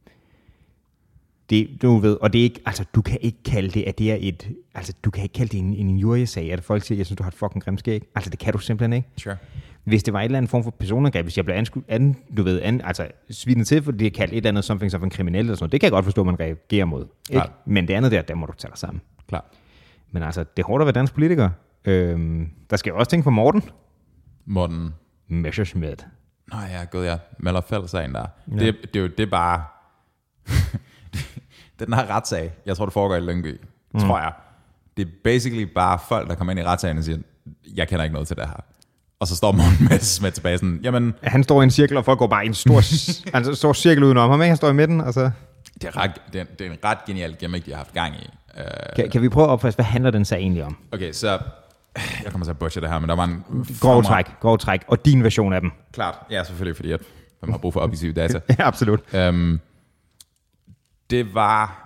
Speaker 2: det, du ved, og det er ikke, altså, du kan ikke kalde det, at det er et, altså, du kan ikke kalde det en, en juriesag, at folk siger, jeg synes, du har et fucking grimt skæg. Altså, det kan du simpelthen ikke.
Speaker 1: Sure.
Speaker 2: Hvis det var et eller andet form for personangreb, hvis jeg blev anskudt, an, du ved, an, altså, svinet til, fordi det er kaldt et eller andet something som en kriminel eller sådan noget, det kan jeg godt forstå, man reagerer mod. Ikke?
Speaker 1: Klart.
Speaker 2: Men det andet der, der må du tage dig sammen.
Speaker 1: Klart.
Speaker 2: Men altså, det er hårdt at være dansk politiker. Øhm, der skal jeg også tænke på Morten
Speaker 1: Morten,
Speaker 2: Messerschmidt.
Speaker 1: Nå ja, gud ja, melder fællesagen der. Ja. Det, det, er jo- det er bare... det er den her retssag, jeg tror, det foregår i Lyngby, mm. tror jeg. Det er basically bare folk, der kommer ind i retssagen og siger, jeg kender ikke noget til det her. Og så står Morten Messerschmidt tilbage sådan, jamen,
Speaker 2: Han står i en cirkel, og folk går bare i en stor, altså, en stor cirkel udenom ham, ikke? Han står i midten, og så...
Speaker 1: det er, ret, det er, det er en ret genial gimmick, de har haft gang i. Øh,
Speaker 2: Kan, kan vi prøve at opfatte, hvad handler den sag egentlig om?
Speaker 1: Okay, så... Jeg kommer til at butche det her, men der var en...
Speaker 2: Grove træk, grove træk, og din version af dem.
Speaker 1: Klart, ja, selvfølgelig, fordi jeg, man har brug for objektive data.
Speaker 2: Ja, absolut.
Speaker 1: Øhm, det var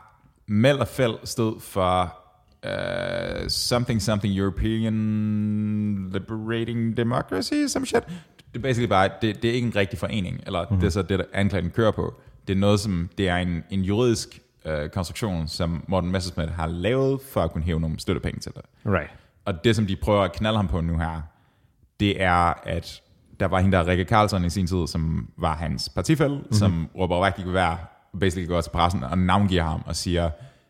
Speaker 1: Meld og Fæld stod for øh, Something Something European Liberating Democracy, some shit. Det er basically bare, det, det er ikke en rigtig forening, eller mm-hmm. det er så det, der anklagen kører på. Det er noget, som det er en, en juridisk øh, konstruktion, som Morten Messerschmidt har lavet, for at kunne hæve nogle støttepenge til det.
Speaker 2: Right.
Speaker 1: Og det, som de prøver at knalde ham på nu her, det er, at der var hende der, Rikke Carlson i sin tid, som var hans partifælde, mm-hmm. som råber rigtig gevær, basically går til pressen og navngiver ham og siger,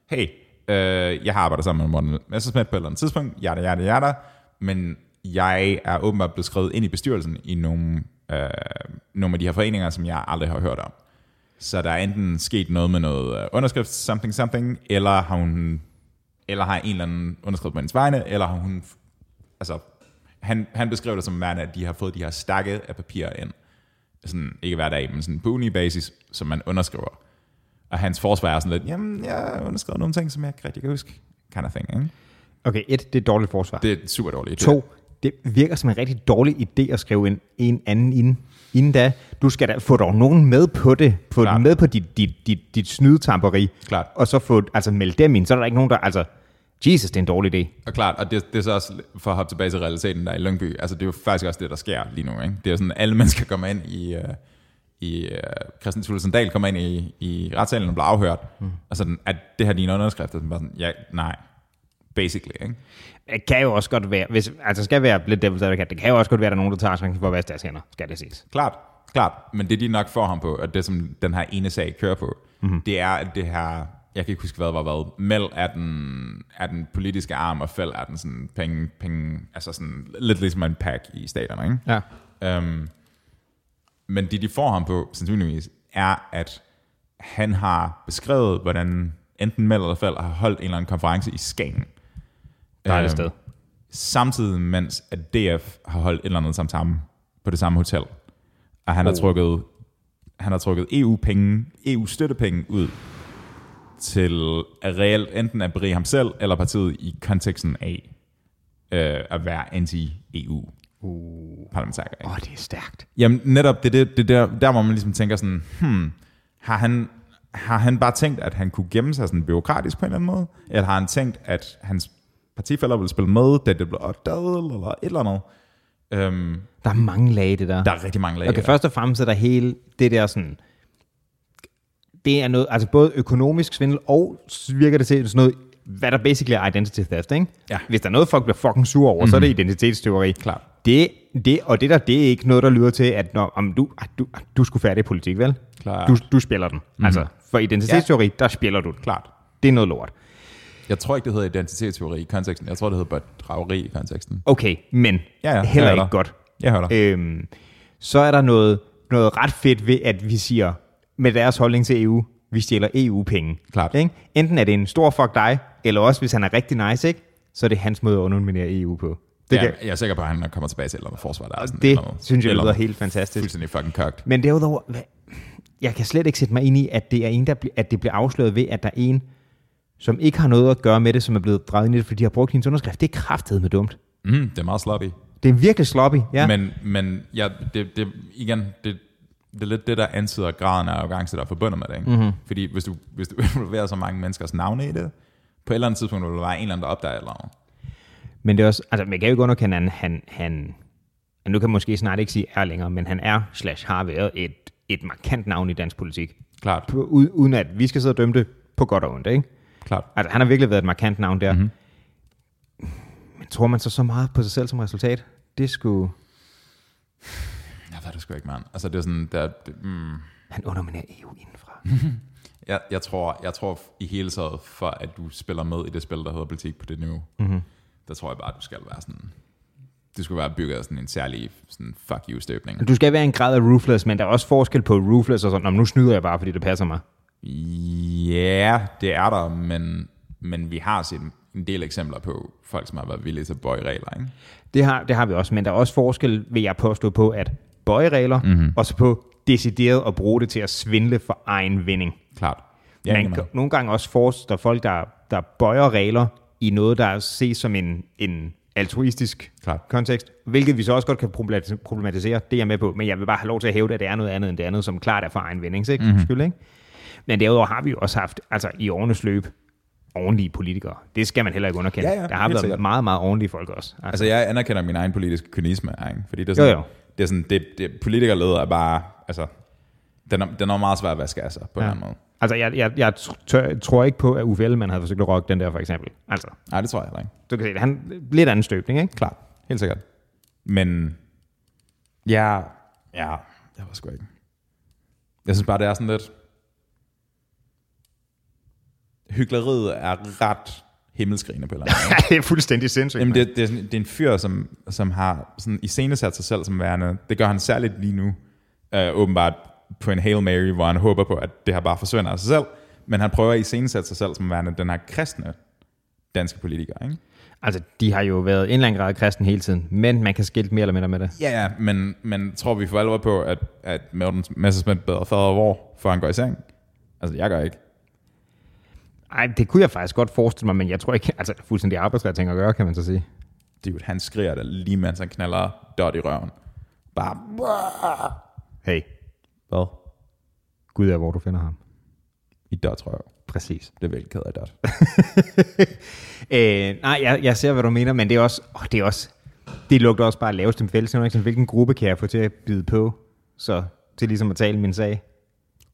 Speaker 1: hey, øh, jeg har arbejdet sammen med Morten Messerschmidt på et eller andet tidspunkt, jada, jada, jada, men jeg er åbenbart blevet skrevet ind i bestyrelsen i nogle, øh, nogle af de her foreninger, som jeg aldrig har hørt om. Så der er enten sket noget med noget øh, underskrift, something, something, eller har hun eller har en eller anden underskrevet på hendes vegne, eller har hun... Altså, han, han beskrev det som værende, at de har fået de her stakke af papirer ind, sådan, ikke hver dag, men sådan på uni-basis, som man underskriver. Og hans forsvar er sådan lidt, jamen, jeg har underskrevet nogle ting, som jeg ikke rigtig kan huske. Kind of thing, ikke?
Speaker 2: Okay, et, det er et dårligt forsvar. Det,
Speaker 1: Det er super dårligt.
Speaker 2: to, det virker som en rigtig dårlig idé at skrive en, en anden ind. Inden da, du skal da få dog nogen med på det, få
Speaker 1: Klart.
Speaker 2: dem med på dit, dit, dit, dit snydetamperi,
Speaker 1: Klart.
Speaker 2: og så få, altså melde dem ind, så er der ikke nogen, der, altså, Jesus, det er en dårlig idé.
Speaker 1: Og klart, og det, det er så også, for at hoppe tilbage til realiteten der i Lyngby, altså det er jo faktisk også det, der sker lige nu, ikke? Det er jo sådan, alle mennesker kommer ind i, øh, i øh, Christian Thulesen Dahl kommer ind i, i retssalen og bliver afhørt, mm. og sådan, at det her er dine underskrifter, som bare sådan, ja, nej, basically, ikke?
Speaker 2: Det kan jo også godt være, hvis, altså skal være lidt devil's advocate, det kan jo også godt være, at der er nogen, der tager chancen for at være statshænder, skal det ses.
Speaker 1: Klart, klart, men det de nok får ham på, og det som den her ene sag kører på, mm. det er, at det her, jeg kan ikke huske, hvad det var hvad, Mel er den, er den politiske arm, og Fæld er den sådan penge, penge, altså sådan lidt ligesom en pack i staterne, ikke?
Speaker 2: Ja.
Speaker 1: Øhm, men det, de får ham på, sandsynligvis, er, at han har beskrevet, hvordan enten Meld eller Fald har holdt en eller anden konference i Skagen. Øhm.
Speaker 2: Dejligt sted.
Speaker 1: Samtidig mens, at DF har holdt et eller andet samtale på det samme hotel. Og han, oh. har, trukket, han har trukket E EU-penge, EU-støttepenge ud til at reelt enten at berige ham selv eller partiet i konteksten af øh, at være anti-EU-parlamentariker. ikke?
Speaker 2: Åh, oh, det er stærkt.
Speaker 1: Jamen netop, det er det, det er der, der, hvor man ligesom tænker sådan, hmm, har han, har han bare tænkt, at han kunne gemme sig sådan byråkratisk på en eller anden måde? Eller har han tænkt, at hans partifælder ville spille med, da det blev opdaget, eller et eller andet? Øhm,
Speaker 2: Der er mange lag i det der.
Speaker 1: der er rigtig mange lag.
Speaker 2: Okay, først og fremmest er der hele det der sådan, det er noget, altså både økonomisk svindel, og så virker det til sådan noget, hvad der basically er identity theft, ikke?
Speaker 1: Ja. Mhm.
Speaker 2: Hvis der er noget, folk bliver fucking sur over, mm-hmm. så er det identitetsteori.
Speaker 1: Klart.
Speaker 2: Det, det, og det der, det er ikke noget, der lyder til, at når, om du, ah, du, ah, du skulle færdig i politik, vel?
Speaker 1: Klart. Mhm.
Speaker 2: Du, du spiller den. Mm-hmm. Altså, for identitetsteori, ja. der spiller du den.
Speaker 1: Klart.
Speaker 2: Det er noget lort.
Speaker 1: Jeg tror ikke, det hedder identitetsteori i konteksten. Jeg tror, det hedder bedrageri i konteksten.
Speaker 2: Okay, men
Speaker 1: Ja, ja,
Speaker 2: heller
Speaker 1: jeg hører
Speaker 2: ikke
Speaker 1: dig.
Speaker 2: godt.
Speaker 1: Jeg hører dig.
Speaker 2: Øhm, så er der noget, noget ret fedt ved, at vi siger, med deres holdning til EU, vi stjæler EU-penge.
Speaker 1: Klart.
Speaker 2: Ikke? Enten er det en stor fuck dig, eller også hvis han er rigtig nice, ikke? så er det hans måde at underminere EU på. Det,
Speaker 1: Det
Speaker 2: kan,
Speaker 1: jeg, jeg er sikker på, at han kommer tilbage til et eller andet forsvar. Der er sådan et
Speaker 2: det
Speaker 1: eller andet-
Speaker 2: synes jeg
Speaker 1: eller
Speaker 2: lyder
Speaker 1: andet
Speaker 2: helt fantastisk.
Speaker 1: Fuldstændig fucking kogt.
Speaker 2: Men derudover, hvad, jeg kan slet ikke sætte mig ind i, at det, er en, der bl- at det bliver afsløret ved, at der er en, som ikke har noget at gøre med det, som er blevet drejet ind i det, fordi de har brugt hendes underskrift. Det er kraftedeme dumt.
Speaker 1: Mm, det er meget sloppy.
Speaker 2: Det er virkelig sloppy, ja.
Speaker 1: Ja. Men, men ja, det, det, igen, det, det er lidt det, der antyder graden af arrogance, der er forbundet med det. Ikke? Mm-hmm. Fordi hvis du, hvis du involverer så mange menneskers navne i det, på et eller andet tidspunkt vil der være en eller anden, der opdager et eller andet.
Speaker 2: Men det er også, altså man kan jo ikke underkende, at han, han, han og nu kan man måske snart ikke sige er længere, men han er, slash har været et, et markant navn i dansk politik.
Speaker 1: Klart,
Speaker 2: På, u, uden at vi skal sidde og dømme det på godt og ondt, ikke?
Speaker 1: klart.
Speaker 2: Altså han har virkelig været et markant navn der. Mm-hmm. Men tror man så så meget på sig selv som resultat? Det skulle
Speaker 1: Jeg ved det sgu ikke, mand. Altså det er sådan, der, det, mm,
Speaker 2: han underminerer E EU indenfra.
Speaker 1: jeg, jeg, tror, jeg tror i hele taget, for at du spiller med i det spil, der hedder politik på det niveau, mm-hmm. der tror jeg bare, at du skal være sådan, det skulle være bygget af sådan en særlig sådan fuck you-støbning.
Speaker 2: Altså, Du skal være en grad af ruthless, men der er også forskel på ruthless og sådan, om nu snyder jeg bare, fordi det passer mig.
Speaker 1: Ja, det er der, men, men vi har set en del eksempler på folk, som har været villige til at bøje regler. Ikke?
Speaker 2: Det har, det har vi også, men der er også forskel, vil jeg påstå, på at bøje regler,
Speaker 1: Mhm.
Speaker 2: mm-hmm. og så på decideret at bruge det til at svindle for egen vinding.
Speaker 1: Klart.
Speaker 2: Ja,
Speaker 1: enig
Speaker 2: Man
Speaker 1: med
Speaker 2: kan
Speaker 1: dig.
Speaker 2: nogle gange også forestille folk, der, der bøjer regler i noget, der ses som en, en altruistisk
Speaker 1: Klart.
Speaker 2: kontekst, hvilket vi så også godt kan problemati- problematisere, det er jeg med på, men jeg vil bare have lov til at hæve, at det er noget andet end det andet, som klart er for egen vindings,
Speaker 1: Mhm.
Speaker 2: ikke? Mm-hmm. Skyld, ikke? Men derudover har vi jo også haft, altså i årenes løb, ordentlige politikere. Det skal man heller ikke underkende.
Speaker 1: Ja, ja,
Speaker 2: der har
Speaker 1: helt
Speaker 2: været
Speaker 1: sikkert.
Speaker 2: meget, meget ordentlige folk også. Altså,
Speaker 1: Altså, jeg anerkender min egen politiske kynisme, her, ikke? fordi det er sådan,
Speaker 2: Jo, jo.
Speaker 1: Det er sådan, det, det politikerleder er bare, altså, den er, den er meget svært at vaske af sig, på ja. en eller anden måde.
Speaker 2: Altså, jeg, jeg, jeg tør, tror ikke på, at Uffe Ellemann havde forsøgt at rocke den der, for eksempel. Altså,
Speaker 1: Nej, det tror jeg heller ikke.
Speaker 2: du kan se, det han lidt anden støbning, ikke?
Speaker 1: Klart. Helt sikkert. Men, ja, ja, jeg var sgu ikke. Jeg synes bare, det er sådan lidt, hykleriet er ret himmelskrigende på en eller anden måde.
Speaker 2: det er fuldstændig sindssygt.
Speaker 1: Jamen, det, det, er sådan, det er en fyr, som, som har sådan iscenesat sig selv som værende. Det gør han særligt lige nu, øh, åbenbart på en Hail Mary, hvor han håber på, at det her bare forsvinder af sig selv. Men han prøver at iscenesætte sig selv som værende den her kristne danske politiker. Ikke?
Speaker 2: Altså, de har jo været i en eller anden grad kristen hele tiden, men man kan skilte mere eller mindre med det.
Speaker 1: Ja, ja, men, men tror vi for alvor på, at, at Morten Messerschmidt bedre fader hvor, før han går i seng? Altså, jeg gør ikke.
Speaker 2: Ej, det kunne jeg faktisk godt forestille mig, men jeg tror ikke, altså fuldstændig arbejdsret ting at gøre, kan man så sige.
Speaker 1: Dude, han skriger der lige mens han knaller dot i røven. Bare,
Speaker 2: Hey,
Speaker 1: hvad?
Speaker 2: Gud er, hvor du finder ham.
Speaker 1: I dot, tror jeg.
Speaker 2: Præcis.
Speaker 1: Det er vel ked af dot.
Speaker 2: Øh, nej, jeg, jeg ser, hvad du mener, men det er også, åh, det er også, det lugter også bare lavest dem fælles, ikke? Så hvilken gruppe kan jeg få til at bide på, så til ligesom at tale min sag.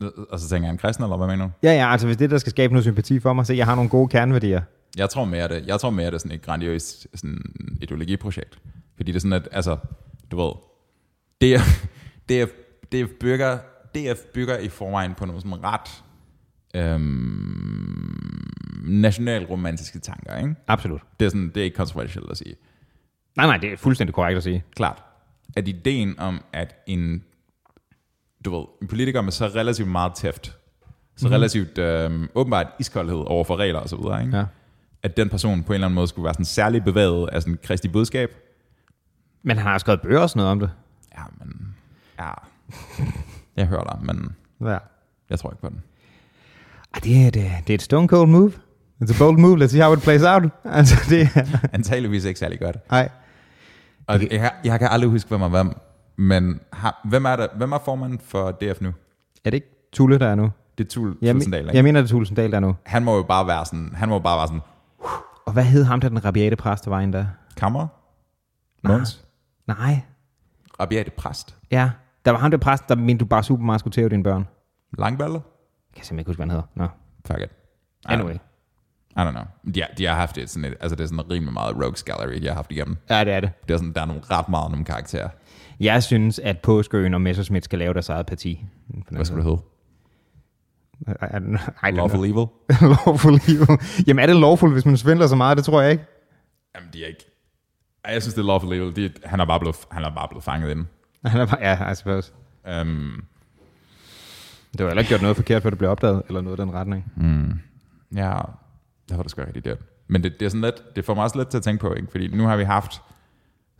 Speaker 1: Og så tænker han, kristen, eller hvad mener du?
Speaker 2: Ja, ja, altså hvis det der skal skabe noget sympati for mig, så jeg har nogle gode kerneværdier.
Speaker 1: Jeg tror mere, det, jeg tror mere, det er sådan et grandiøst sådan ideologiprojekt. Fordi det er sådan, at, altså, du ved, DF, DF, DF, bygger, DF bygger i forvejen på nogle sådan ret øhm, nationalromantiske tanker, ikke?
Speaker 2: Absolut.
Speaker 1: Det er, sådan, det er ikke kontroversielt at sige.
Speaker 2: Nej, nej, det er fuldstændig korrekt at sige.
Speaker 1: Klart, at ideen om, at en, du ved, en politiker med så relativt meget tæft, så mm-hmm. relativt øhm, åbenbart iskoldhed over for regler og så videre, ikke?
Speaker 2: Ja.
Speaker 1: at den person på en eller anden måde skulle være sådan særlig bevæget af sådan kristi budskab.
Speaker 2: Men han har skrevet bøger og sådan noget om det.
Speaker 1: Ja, men... Ja. Jeg hører dig, men
Speaker 2: Ja.
Speaker 1: jeg tror ikke på den.
Speaker 2: Ej, det er, det, det er et stone cold move. It's a bold move, let's see how it plays out. Altså, det er...
Speaker 1: Antageligvis ikke særlig godt.
Speaker 2: Ej.
Speaker 1: Og jeg, jeg kan aldrig huske, hvem er hvem. Men har, hvem, er der, hvem er formanden for DF nu?
Speaker 2: Er det ikke Tulle, der er nu?
Speaker 1: Det er Tul
Speaker 2: Jeg,
Speaker 1: Tulsendal, ikke?
Speaker 2: jeg mener, det er Tulsendal, der er nu.
Speaker 1: Han må jo bare være sådan... Han må jo bare være sådan...
Speaker 2: Og hvad hed ham, der den rabiate præst, der var en der?
Speaker 1: Kammer? Måns?
Speaker 2: Nej,
Speaker 1: Rabiate præst?
Speaker 2: Ja, der var ham der præst, der mente du bare super meget skulle tæve dine børn.
Speaker 1: Langballe?
Speaker 2: Jeg kan simpelthen ikke huske, hvad han hedder. Nå,
Speaker 1: Fuck it. I don't-
Speaker 2: anyway.
Speaker 1: I don't know. De, har- de har haft et sådan et, altså det er sådan rimelig meget Rogues Gallery, de har haft igennem.
Speaker 2: Ja, det er det.
Speaker 1: Det er sådan, der er nogle ret meget nogle karakterer.
Speaker 2: Jeg synes, at Påskøen og Messerschmidt skal lave deres eget parti.
Speaker 1: Hvad skulle det hedde?
Speaker 2: Ej, lawful.
Speaker 1: Lawful Evil?
Speaker 2: lawful evil. Jamen er det lawful, hvis man svindler så meget? Det tror jeg ikke.
Speaker 1: Jamen, de er ikke... Ej, Jeg synes, det er Lawful Evil. De, han, er bare blevet, han er bare blevet fanget inde.
Speaker 2: Han er bare, ja, I suppose.
Speaker 1: Um,
Speaker 2: Det var heller ikke gjort noget forkert, før det blev opdaget, eller noget i den retning.
Speaker 1: ja, det var da sgu rigtigt der. Men det, det, er sådan lidt, det får mig også lidt til at tænke på, ikke? fordi nu har vi haft...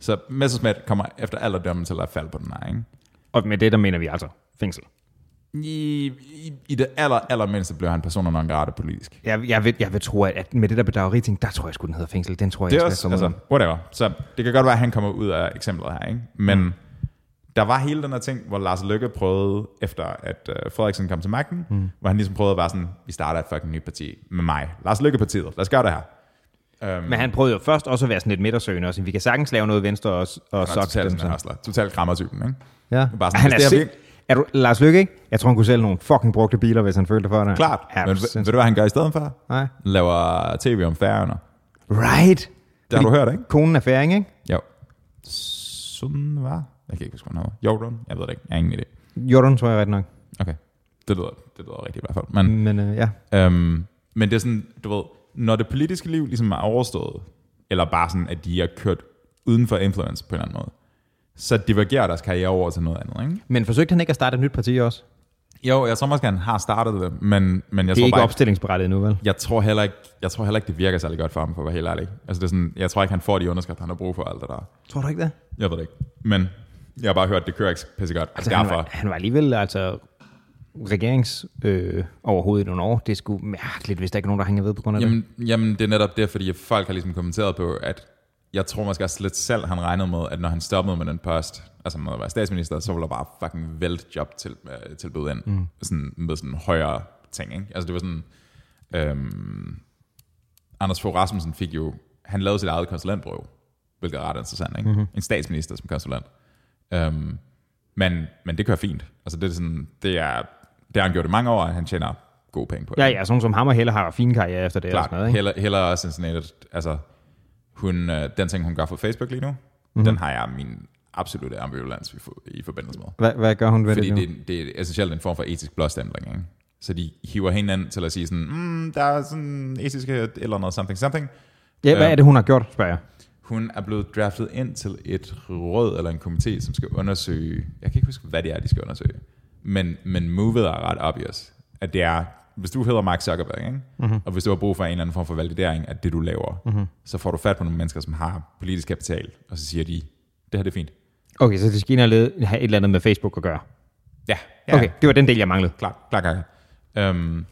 Speaker 1: Så Messerschmidt kommer efter alderdommen til at falde på den her, ikke?
Speaker 2: Og med det, der mener vi altså fængsel.
Speaker 1: I, i, i det aller, aller mindste blev han persona non grata politisk.
Speaker 2: Jeg, jeg, vil, jeg vil tro, at, at med det der bedrageri ting, der tror jeg sgu, den hedder fængsel. Den tror jeg,
Speaker 1: Det er
Speaker 2: jeg
Speaker 1: også, altså, whatever. Så det kan godt være, at han kommer ud af eksemplet her, ikke? Men mm. der var hele den her ting, hvor Lars Løkke prøvede, efter at uh, Frederiksen kom til magten, mm. hvor han ligesom prøvede at være sådan, vi starter et fucking nyt parti med mig. Lars Løkke-partiet, lad os gøre det her.
Speaker 2: Men han prøvede jo først også at være sådan lidt midtersøgende også. Vi kan sagtens lave noget venstre og, og
Speaker 1: Så
Speaker 2: sokke
Speaker 1: totalt
Speaker 2: dem.
Speaker 1: sådan
Speaker 2: Så.
Speaker 1: en hustler. Totalt krammertypen, ikke?
Speaker 2: Ja.
Speaker 1: Bare sådan,
Speaker 2: han er,
Speaker 1: hvis det er
Speaker 2: sind... er du, Lars Lykke, ikke? Jeg tror, han kunne sælge nogle fucking brugte biler, hvis han følte for det.
Speaker 1: Klart.
Speaker 2: Ja,
Speaker 1: Men
Speaker 2: men...
Speaker 1: ved, ved du, hvad han gør i stedet for?
Speaker 2: Nej.
Speaker 1: Laver tv om færgerne.
Speaker 2: Right.
Speaker 1: Det har du hørt, ikke?
Speaker 2: Konen er færing, ikke?
Speaker 1: Jo. Sådan var. Jeg kan ikke huske, hvad han hedder. Jordan? Jeg ved det ikke. Jeg har ingen idé.
Speaker 2: Jordan tror jeg ret nok.
Speaker 1: Okay. Det lyder, det lyder rigtigt i hvert fald. Men
Speaker 2: Men øh, ja.
Speaker 1: Øhm, men det er sådan, du ved, når det politiske liv ligesom er overstået, eller bare sådan, at de er kørt uden for influence på en eller anden måde, så divergerer deres karriere over til noget andet, ikke?
Speaker 2: Men forsøgte han ikke at starte et nyt parti også?
Speaker 1: Jo, jeg tror måske, han har startet det, men, men jeg,
Speaker 2: Det er
Speaker 1: tror
Speaker 2: ikke
Speaker 1: bare,
Speaker 2: opstillingsberettiget nu, vel?
Speaker 1: jeg, tror heller ikke, jeg tror heller ikke, det virker særlig godt for ham, for at være helt ærlig. Altså, det er sådan, jeg tror ikke, han får de underskrifter, han har brug for alt det der.
Speaker 2: Tror du ikke det?
Speaker 1: Jeg ved det ikke. Men jeg har bare hørt, det kører ikke pissegodt. Altså,
Speaker 2: han,
Speaker 1: derfor,
Speaker 2: var, han var alligevel altså regerings øh, overhovedet i nogle år. Det er sgu mærkeligt, hvis der ikke er nogen, der hænger ved på grund af det.
Speaker 1: Jamen, jamen, det er netop det, fordi folk har ligesom kommenteret på, at jeg tror måske også lidt selv, han regnede med, at når han stoppede med den post, altså med at være statsminister, så ville der bare fucking vælte job til, øh, tilbud ind, mm. sådan, med sådan højere ting, ikke? Altså det var sådan, øhm, Anders Fogh Rasmussen fik jo, han lavede sit eget konsulentbrev, hvilket er ret interessant, ikke?
Speaker 2: Mhm.
Speaker 1: Mm-hmm. En statsminister som konsulent. Øhm, men, men det kører fint. Altså det er sådan, det er, det har han gjort i mange år, og han tjener gode penge på det.
Speaker 2: Ja, ja, sådan nogle som ham og Helle har fine karriere efter det. og
Speaker 1: Klart,
Speaker 2: sådan noget, ikke?
Speaker 1: heller, heller også en sådan et, altså, hun, øh, den ting, hun gør for Facebook lige nu,
Speaker 2: Mhm.
Speaker 1: mm-hmm. den har jeg min absolutte ambivalens i, for, i forbindelse med.
Speaker 2: Hvad, hvad gør hun ved
Speaker 1: Fordi
Speaker 2: det nu?
Speaker 1: det, det, det er essentielt en form for etisk blåstempling, ikke? Så de hiver hinanden til at sige sådan, mm, der er sådan etiske eller noget something something.
Speaker 2: Ja, hvad er det, hun har gjort, spørger jeg.
Speaker 1: Hun er blevet draftet ind til et råd eller en komité, som skal undersøge, jeg kan ikke huske, hvad det er, de skal undersøge, men, men movet er ret obvious, at det er hvis du hedder Mark Zuckerberg, ikke? Mm-hmm. og hvis du har brug for en eller anden form for validering af det, du laver, mm-hmm. så får du fat på nogle mennesker, som har politisk kapital, og så siger de, det her det er fint.
Speaker 2: Okay, så det skal ind og lede- have et eller andet med Facebook at gøre.
Speaker 1: Ja, ja.
Speaker 2: Okay, det var den del, jeg manglede.
Speaker 1: klart, klart, klart. Øhm,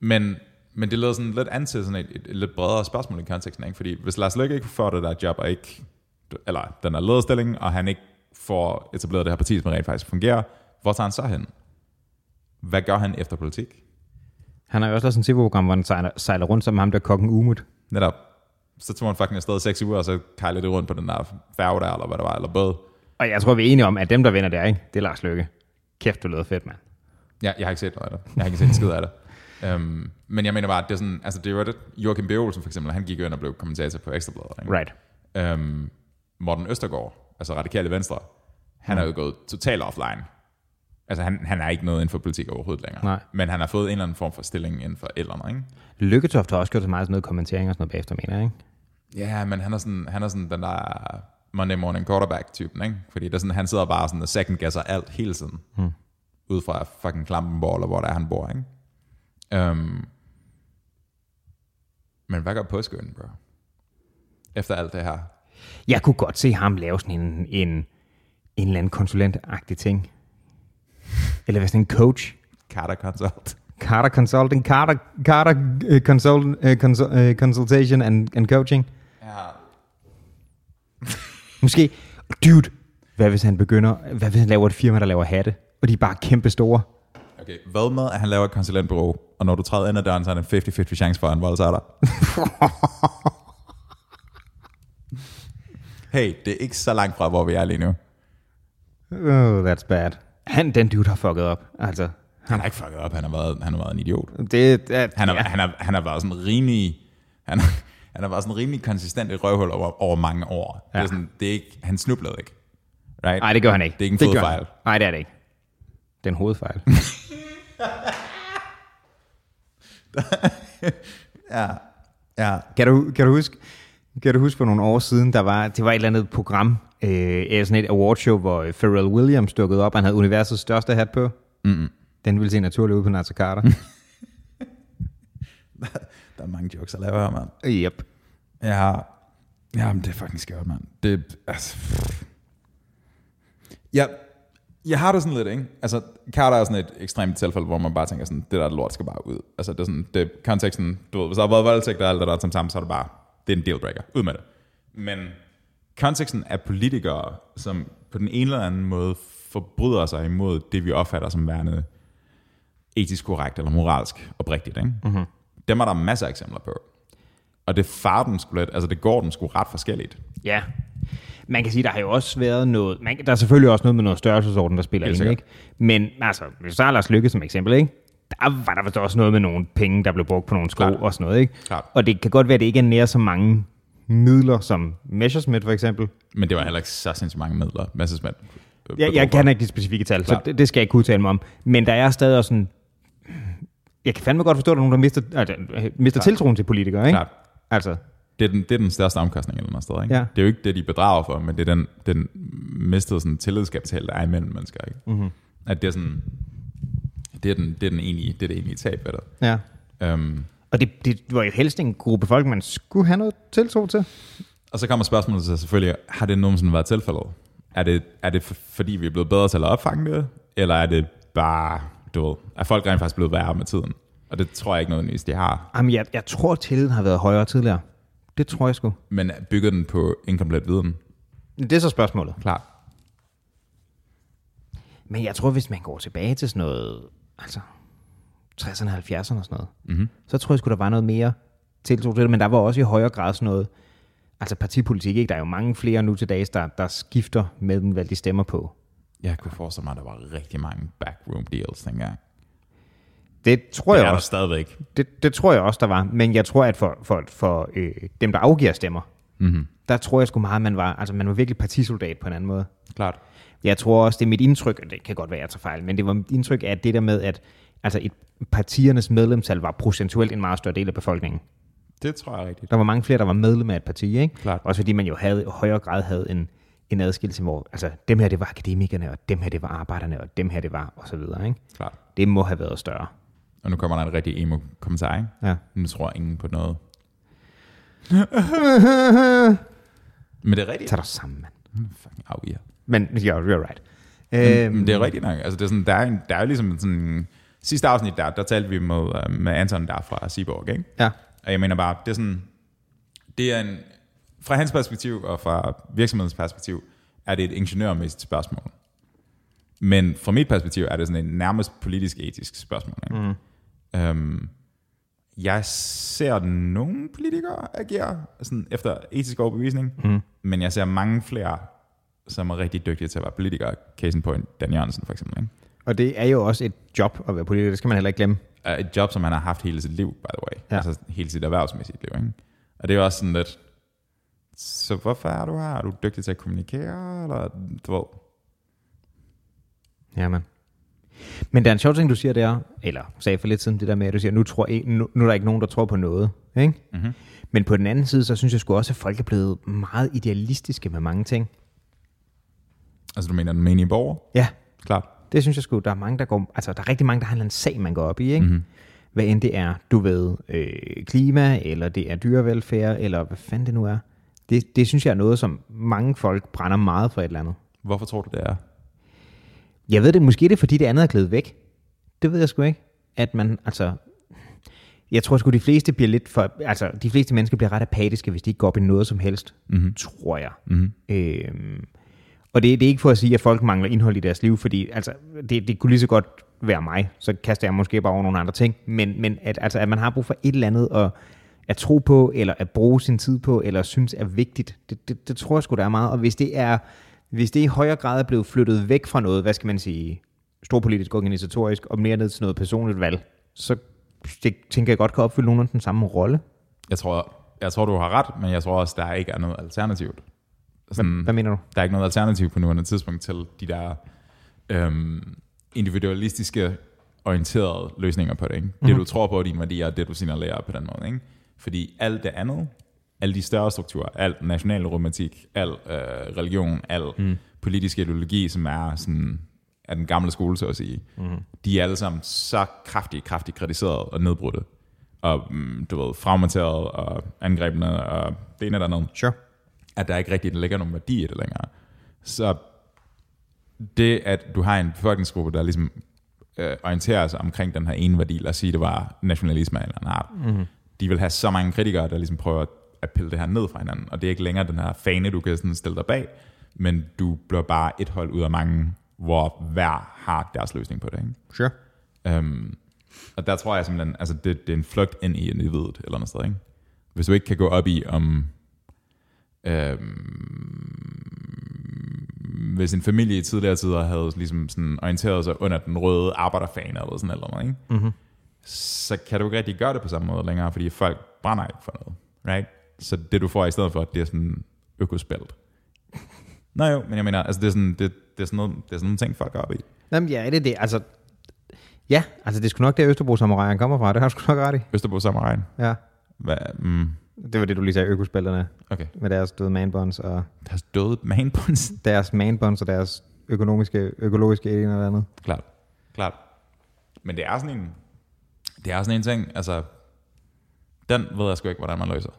Speaker 1: men, men det leder sådan lidt an til sådan et, et, et lidt bredere spørgsmål i konteksten, ikke? fordi hvis Lars Løkke ikke får det der job, og ikke, eller den der lederstilling, og han ikke får etableret det her parti, som rent faktisk fungerer, hvor tager han så hen? Hvad gør han efter politik?
Speaker 2: Han har jo også lavet sådan et TV-program, hvor han sejler, sejler rundt sammen med ham, der er kokken Umut.
Speaker 1: Netop. Så tog han fucking afsted i seks uger, og så kejlede det rundt på den der færge der, eller hvad det var, eller båd.
Speaker 2: Og jeg tror, vi er enige om, at dem, der vinder der, ikke? det er Lars Løkke. Kæft, du lyder fedt, mand.
Speaker 1: Ja, jeg har ikke set noget af det. Jeg har ikke set en skid af det. Øhm, men jeg mener bare, at det er sådan, altså det var det, Joachim B. Olsen for eksempel, han gik jo ind og blev kommentator på Ekstrabladet. Ikke?
Speaker 2: Right.
Speaker 1: Øhm, Morten Østergaard, altså radikale venstre, han er jo gået totalt offline. Altså han, han er ikke noget inden for politik overhovedet længere.
Speaker 2: Nej.
Speaker 1: Men han har fået en eller anden form for stilling inden for et eller andet, ikke?
Speaker 2: Lykketoft har også gjort så meget sådan noget kommentering og sådan noget bagefter, mener jeg, ikke?
Speaker 1: Ja, men han er sådan, han er sådan den der Monday morning quarterback-typen, ikke? Fordi det er sådan, han sidder bare sådan og second guesser alt hele tiden. Hmm. Ud fra fucking Klampenborg, eller hvor der er, han bor, ikke? Um, men hvad gør påskøen, bro? Efter alt det her.
Speaker 2: Jeg kunne godt se ham lave sådan en, en, en eller anden konsulentagtig ting. Eller hvad sådan en coach.
Speaker 1: Carter Consult.
Speaker 2: Carter Consulting, Carter, Carter uh, consult, uh, consul, uh, Consultation and, and Coaching.
Speaker 1: Ja.
Speaker 2: Måske, dude, hvad hvis han begynder, hvad hvis han laver et firma, der laver hatte, og de er bare kæmpe store?
Speaker 1: Okay, hvad med, at han laver et konsulentbureau, og når du træder ind ad døren, så er der en 50-50 chance for, at han voldtager dig? hey, det er ikke så langt fra, hvor vi er lige nu.
Speaker 2: Oh, that's bad. Han, den dude har fucket op, altså.
Speaker 1: Han har ikke fucket op, han har været, han har været en idiot.
Speaker 2: Det, det,
Speaker 1: Han har, ja. han har, han har været sådan rimelig... Han har, han har været sådan rimelig konsistent i røvhul over, over mange år. Ja. Det
Speaker 2: Ja.
Speaker 1: er sådan, det er ikke, han snublede ikke. Right?
Speaker 2: Nej, det gør han ikke.
Speaker 1: Det er ikke en
Speaker 2: gør
Speaker 1: fodfejl.
Speaker 2: han. Nej, det er det ikke. Det er en hovedfejl.
Speaker 1: Ja.
Speaker 2: kan, du, kan, du huske, kan du huske for nogle år siden, der var, det var et eller andet program, øh, eller sådan et awardshow, hvor øh, Pharrell Williams dukkede op, og han havde universets største hat på. Mm-hmm. Den ville se naturlig ud på Nazi Carter.
Speaker 1: Der er mange jokes at lave her, mand.
Speaker 2: yep.
Speaker 1: Ja. Ja, men det er fucking skørt, mand. Det, altså, ja, jeg har det sådan lidt, ikke? Altså, Carter er sådan et ekstremt tilfælde, hvor man bare tænker sådan, det der lort skal bare ud. Altså, det er sådan, det er konteksten, du ved, hvis der har været voldtægt og alt det der som sammen, så er det bare, det er en dealbreaker. Ud med det. Men konteksten af politikere, som på den ene eller anden måde forbryder sig imod det, vi opfatter som værende etisk korrekt eller moralsk oprigtigt, ikke? Mm-hmm. Dem er der masser af eksempler på. Og det farer den sgu lidt, altså det går den sgu ret forskelligt.
Speaker 2: Ja. Man kan sige, der har jo også været noget... Man, kan- der er selvfølgelig også noget med noget størrelsesorden, der spiller
Speaker 1: Helt
Speaker 2: ind,
Speaker 1: sikkert.
Speaker 2: ikke? Men altså, hvis du tager Lars Lykke som eksempel, ikke? Der var der vist også noget med nogle penge, der blev brugt på nogle sko
Speaker 1: Klart.
Speaker 2: og sådan noget, ikke?
Speaker 1: Klart.
Speaker 2: Og det kan godt være, at det ikke er nær så mange midler som Messerschmidt for eksempel.
Speaker 1: Men det var heller ikke så sindssygt mange midler, Messerschmidt. øh,
Speaker 2: Jeg,
Speaker 1: bedrog
Speaker 2: jeg
Speaker 1: for.
Speaker 2: kan ikke de specifikke tal, så
Speaker 1: Klart.
Speaker 2: det, det skal jeg ikke kunne udtale mig om. Men der er stadig også sådan... Jeg kan fandme godt forstå, at der er nogen, der mister, altså, øh, mister tiltroen til politikere, ikke?
Speaker 1: Klart.
Speaker 2: Altså,
Speaker 1: Det er, den, det er den største omkostning eller noget sted, ikke?
Speaker 2: Ja.
Speaker 1: Det er jo ikke det, de bedrager for, men det er den, den mistede sådan, tillidskapital, der er imellem mennesker. Ikke?
Speaker 2: Mhm.
Speaker 1: Mm-hmm. At det er sådan, det er, den, det er den egentlige, det er det egentlige tab af det.
Speaker 2: ja.
Speaker 1: Øhm,
Speaker 2: Og det, det var jo helst en gruppe folk, man skulle have noget tiltro til.
Speaker 1: og så kommer spørgsmålet så selvfølgelig, har det nogensinde været tilfældet? Er det, er det for, fordi, vi er blevet bedre til at opfange det? Eller er det bare, du ved, er folk rent faktisk blevet værre med tiden? Og det tror jeg ikke nødvendigvis, de har.
Speaker 2: Jamen, jeg, jeg tror, tilliden har været højere tidligere. Det tror jeg sgu.
Speaker 1: men bygger den på inkomplet viden.
Speaker 2: Det er så spørgsmålet.
Speaker 1: Klart.
Speaker 2: Men jeg tror, hvis man går tilbage til sådan noget, altså 60'erne, 70'erne og sådan noget, mm-hmm. så tror jeg sgu, der var noget mere tiltro til det, men der var også i højere grad sådan noget, altså partipolitik, ikke? Der er jo mange flere nu til dags, der, der skifter mellem, hvad de stemmer på.
Speaker 1: Jeg kunne forestille mig, at der var rigtig mange backroom deals dengang.
Speaker 2: Det tror
Speaker 1: Det
Speaker 2: jeg
Speaker 1: er der
Speaker 2: også.
Speaker 1: stadigvæk.
Speaker 2: Det, det tror jeg også, der var. Men jeg tror, at for, for, for øh, dem, der afgiver stemmer, mm-hmm. der tror jeg sgu meget, man var, altså man var virkelig partisoldat på en anden måde.
Speaker 1: Klart.
Speaker 2: Jeg tror også, det er mit indtryk, og det kan godt være, jeg tager fejl, men det var mit indtryk af det der med, at altså et, partiernes medlemstal var procentuelt en meget større del af befolkningen.
Speaker 1: Det tror jeg rigtigt.
Speaker 2: Der var mange flere, der var medlem af et parti, ikke?
Speaker 1: Klart.
Speaker 2: Også fordi man jo havde, i højere grad havde en, en adskillelse, hvor altså, dem her, det var akademikerne, og dem her, det var arbejderne, og dem her, det var, og så videre, ikke?
Speaker 1: Klart.
Speaker 2: Det må have været større.
Speaker 1: Og nu kommer der en rigtig emo-kommentar, ikke?
Speaker 2: Ja.
Speaker 1: Nu tror ingen på noget. Men det er rigtigt. Hm,
Speaker 2: Tag dig sammen, mand. Mm,
Speaker 1: Fucking au, ja.
Speaker 2: Men you're, you're right.
Speaker 1: Øhm. Men det er rigtigt nok. Altså, det er sådan, der, er en, der er jo ligesom sådan... Sidste afsnit, der, der talte vi med, øh, med Anton der fra Seaborg, ikke?
Speaker 2: Ja.
Speaker 1: Og jeg mener bare, det er sådan... Det er en... Fra hans perspektiv og fra virksomhedens perspektiv, er det et ingeniørmæssigt spørgsmål. Men fra mit perspektiv er det sådan et nærmest politisk-etisk spørgsmål. Ikke? Mm. Øhm, jeg ser nogle politikere agere sådan efter etisk overbevisning, mm. men jeg ser mange flere, som er rigtig dygtige til at være politikere. Case in point, Dan Jørgensen for eksempel. Ikke?
Speaker 2: Og det er jo også et job at være politiker, det skal man heller ikke glemme.
Speaker 1: er et job, som han har haft hele sit liv, by the way.
Speaker 2: Ja.
Speaker 1: Ja. Altså hele sit erhvervsmæssigt liv. Ikke? Og det er jo også sådan lidt, så hvorfor er du her? Er du dygtig til at kommunikere? Eller, du ved,
Speaker 2: Ja, man. Men der er en sjov ting, du siger der, eller sagde for lidt siden, det der med, at du siger, nu, tror en, nu, nu er der ikke nogen, der tror på noget. Ikke? Mm-hmm. Men på den anden side, så synes jeg sgu også, at folk er blevet meget idealistiske med mange ting.
Speaker 1: altså du mener den menige borger?
Speaker 2: Ja,
Speaker 1: Klart.
Speaker 2: det synes jeg sgu, der er mange, der går, altså der er rigtig mange, der har en eller anden sag, man går op i, ikke? Mm-hmm. Hvad end det er, du ved, øh, klima, eller det er dyrevelfærd, eller hvad fanden det nu er. Det, det synes jeg er noget, som mange folk brænder meget for et eller andet.
Speaker 1: Hvorfor tror du, det er?
Speaker 2: Jeg ved det, måske er det er, fordi det andet er glædet væk. Det ved jeg sgu ikke. At man, altså... Jeg tror sgu, de fleste bliver lidt for... Altså, de fleste mennesker bliver ret apatiske, hvis de ikke går op i noget som helst. Mm-hmm. Tror jeg. Mm-hmm. Øhm, og det, det er ikke for at sige, at folk mangler indhold i deres liv, fordi altså, det, det kunne lige så godt være mig. Så kaster jeg måske bare over nogle andre ting. Men, men at, altså, at man har brug for et eller andet at, at tro på, eller at bruge sin tid på, eller synes er vigtigt, det, det, det tror jeg sgu, der er meget. Og hvis det er hvis det i højere grad er blevet flyttet væk fra noget, hvad skal man sige, storpolitisk, organisatorisk, og mere ned til noget personligt valg, så det tænker jeg godt kan opfylde nogenlunde den samme rolle.
Speaker 1: Jeg tror, jeg tror, du har ret, men jeg tror også, der ikke er noget alternativt. Sådan,
Speaker 2: Hvad mener du?
Speaker 1: der er ikke noget alternativ på nuværende tidspunkt til de der øhm, individualistiske orienterede løsninger på det. Ikke? Det du tror på, dine værdier, og det du signalerer på den måde. Ikke? Fordi alt det andet, alle de større strukturer, al national romantik, al øh, religion, al mm. politisk ideologi, som er sådan af den gamle skole, så at sige, mm. de er alle sammen så kraftigt, kraftigt kritiseret og nedbrudte, og mm, du ved, fragmenteret og angrebne og det ene eller andet
Speaker 2: Sure.
Speaker 1: at der ikke rigtig ligger nogen værdi i det længere. Så det, at du har en befolkningsgruppe, der ligesom øh, orienterer sig omkring den her ene værdi, lad os sige, det var nationalisme af en eller en art, mm-hmm. de vil have så mange kritikere, der ligesom prøver at pille det her ned fra hinanden, og det er ikke længere den her fane, du kan sådan stille dig bag, men du bliver bare et hold ud af mange, hvor hver har deres løsning på det. Ikke?
Speaker 2: Sure.
Speaker 1: Øhm, og der tror jeg simpelthen, altså det, det er en flugt ind i individet et eller andet sted, ikke? Hvis du ikke kan gå op i, om... Øhm, hvis en familie i tidligere tider havde ligesom sådan orienteret sig under den røde arbejderfane eller sådan eller noget, ikke? Mm-hmm. så kan du ikke rigtig gøre det på samme måde længere, fordi folk brænder ikke for noget. Right? Så det du får i stedet for, det er sådan økospelt. Nå jo, men jeg mener, altså det er sådan, det, det er sådan, noget, det er sådan nogle ting, folk går op i.
Speaker 2: Jamen ja, det er det. Altså, ja, altså det er sgu nok der Østerbro samuraier kommer fra. Det har du sgu nok ret i.
Speaker 1: Østerbro Samarien.
Speaker 2: Ja.
Speaker 1: Hvad, mm,
Speaker 2: Det var det, du lige sagde, økospillerne
Speaker 1: okay.
Speaker 2: med deres døde manbonds og
Speaker 1: Deres døde manbuns.
Speaker 2: deres manbonds og deres økonomiske, økologiske alien eller andet.
Speaker 1: Klart. Klart. Men det er sådan en... Det er sådan en ting, altså... Den ved jeg sgu ikke, hvordan man løser.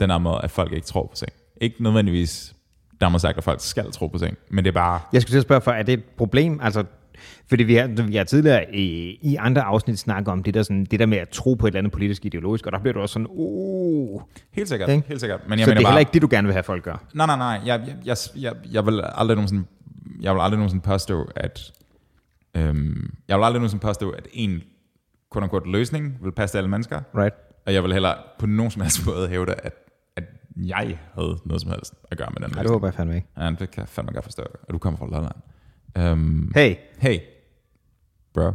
Speaker 1: Den er med, at folk ikke tror på ting. Ikke nødvendigvis, der er sagt, at folk skal tro på ting. Men det er bare...
Speaker 2: Jeg skulle til at spørge for, er det et problem? Altså, fordi vi har, vi har tidligere i, i andre afsnit snakket om det der, sådan, det der med at tro på et eller andet politisk ideologisk, og der bliver du også sådan, uh,
Speaker 1: Helt sikkert,
Speaker 2: Ikke?
Speaker 1: helt sikkert. Men jeg
Speaker 2: så
Speaker 1: mener
Speaker 2: det er
Speaker 1: bare,
Speaker 2: heller ikke det, du gerne vil have folk gør.
Speaker 1: Nej, nej, nej. Jeg, jeg, jeg, jeg, jeg vil aldrig nogensinde, jeg vil aldrig nogensinde påstå, at øhm, jeg vil aldrig nogensinde påstå, at en kun og kort løsning vil passe til alle mennesker.
Speaker 2: Right.
Speaker 1: Og jeg vil heller på nogen som helst måde hævde, at, at jeg havde noget som helst at gøre med den
Speaker 2: Nej, det håber jeg fandme ikke.
Speaker 1: Ja, det kan jeg fandme godt forstå, og du kommer fra Lolland. Øhm,
Speaker 2: Hey,
Speaker 1: hey, bro.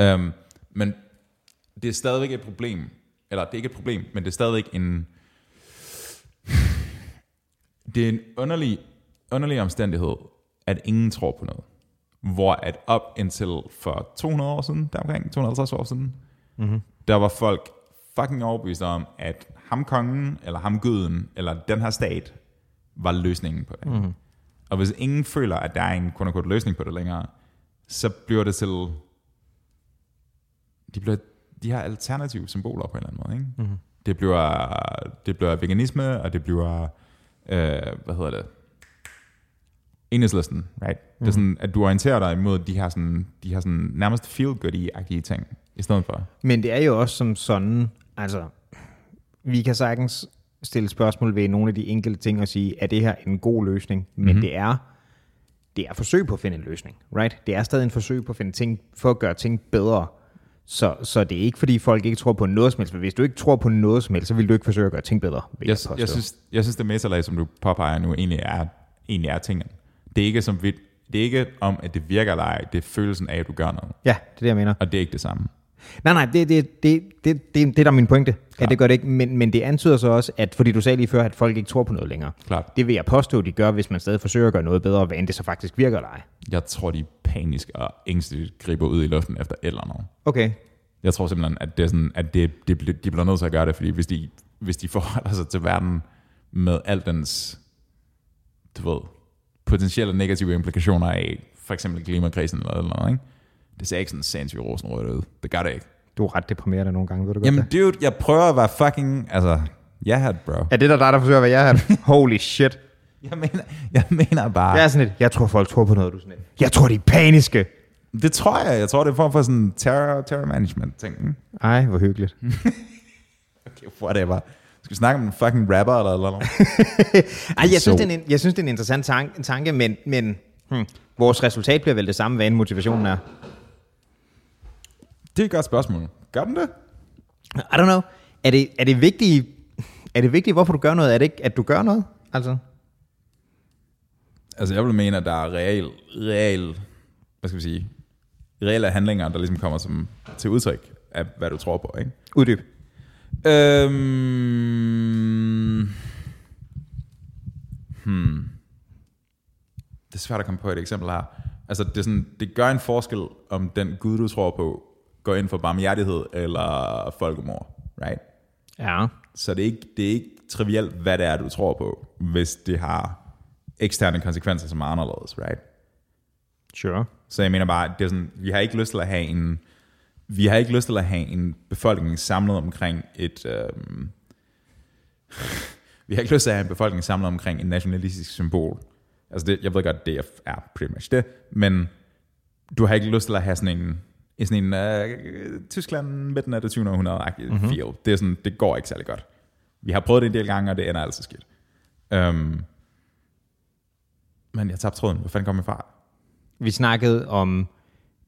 Speaker 1: Øhm, men det er stadigvæk et problem, eller det er ikke et problem, men det er stadigvæk en... Det er en underlig, underlig omstændighed, at ingen tror på noget. Hvor at op indtil for 200 år siden, der omkring 250 år siden, der var folk fucking overbeviste om, at ham kongen, eller ham guden, eller den her stat, var løsningen på det. Mm-hmm. Og hvis ingen føler, at der er en kun og kort løsning på det længere, så bliver det til... De bliver de her alternative symboler på en eller anden måde. Ikke? Mm-hmm. Det, bliver, det bliver veganisme, og det bliver, øh, hvad hedder det, enhedslisten, right? Mm-hmm. Det er sådan, at du orienterer dig imod de her, sådan, de her sådan, nærmest feel good agtige ting, i stedet for.
Speaker 2: Men det er jo også som sådan, altså, vi kan sagtens stille spørgsmål ved nogle af de enkelte ting og sige, er det her en god løsning? Men mm-hmm. det er det er forsøg på at finde en løsning, right? Det er stadig en forsøg på at finde ting, for at gøre ting bedre. Så, så det er ikke, fordi folk ikke tror på noget som helst, men hvis du ikke tror på noget som helst, så vil du ikke forsøge at gøre ting bedre. vil
Speaker 1: Jeg,
Speaker 2: påstå.
Speaker 1: jeg, synes, jeg synes, det metalag, som du påpeger nu, egentlig er, egentlig er tingene. Det er, ikke som, vi- det er ikke om, at det virker eller ej. Det er følelsen af, at du gør noget.
Speaker 2: Ja, det er det, jeg mener.
Speaker 1: Og det er ikke det samme.
Speaker 2: Nej, nej, det, det, det, det, det, det er der min pointe, at det gør det ikke. Men, men det antyder så også, at fordi du sagde lige før, at folk ikke tror på noget længere.
Speaker 1: Klart.
Speaker 2: Det vil jeg påstå, de gør, hvis man stadig forsøger at gøre noget bedre, hvad end det så faktisk virker eller ej.
Speaker 1: Jeg tror, de panisk og ængsteligt griber ud i luften efter eller noget.
Speaker 2: Okay.
Speaker 1: Jeg tror simpelthen, at, det er sådan, at det, det, bl- de bliver nødt til at gøre det, fordi hvis de, hvis de forholder sig til verden med al dens du ved, potentielle negative implikationer af for eksempel klimakrisen eller eller noget, ikke? det ser ikke sådan sindssygt rosenrødt ud. Det gør det ikke.
Speaker 2: Du er ret deprimeret nogle gange, ved du godt
Speaker 1: Jamen
Speaker 2: det?
Speaker 1: dude, jeg prøver at være fucking... Altså, jeg yeah, bro.
Speaker 2: Er det der dig, der forsøger at være jeg her? Holy shit.
Speaker 1: Jeg mener, jeg mener bare...
Speaker 2: Jeg er sådan lidt, jeg tror folk tror på noget, du er sådan lidt. Jeg tror, de er paniske.
Speaker 1: Det tror jeg. Jeg tror, det er en form for sådan terror, terror management ting. ikke?
Speaker 2: Ej, hvor hyggeligt.
Speaker 1: Okay, whatever. Skal vi snakke om en fucking rapper eller eller noget?
Speaker 2: Ej, jeg,
Speaker 1: Så-
Speaker 2: synes, det er en, jeg synes, det er en interessant tanke, tanke men, men hmm, vores resultat bliver vel det samme, hvad end motivationen er.
Speaker 1: det er et godt spørgsmål. Gør den det?
Speaker 2: I don't know. Er det, er det vigtigt, er det vigtigt, hvorfor du gør noget? Er det ikke, at du gør noget? Altså,
Speaker 1: Altså, jeg vil mene, at der er real, real, hvad skal vi sige, reelle handlinger, der ligesom kommer som, til udtryk af, hvad du tror på, ikke?
Speaker 2: uddyb.
Speaker 1: Øhm... Hmm. Det er svært at komme på et eksempel her. Altså, det, er sådan, det gør en forskel, om den Gud, du tror på, går ind for barmhjertighed eller folkemord, right?
Speaker 2: Ja.
Speaker 1: Så det er ikke, det er ikke trivielt, hvad det er, du tror på, hvis det har eksterne konsekvenser, som er anderledes, right?
Speaker 2: Sure.
Speaker 1: Så jeg mener bare, at det er sådan, vi har ikke lyst til at have en, vi har ikke lyst til at have en befolkning samlet omkring et, øhm, vi har ikke lyst til at have en befolkning samlet omkring et nationalistisk symbol. Altså det, jeg ved godt, det er- er pretty much det, men du har ikke lyst til at have sådan en, en sådan en øh, Tyskland midten af det 20. århundrede-agtig mm-hmm. feel. Det, er sådan, det går ikke særlig godt. Vi har prøvet det en del gange, og det ender altid skidt. Um, men jeg tabte tråden. Hvor fanden kom jeg fra?
Speaker 2: Vi snakkede om,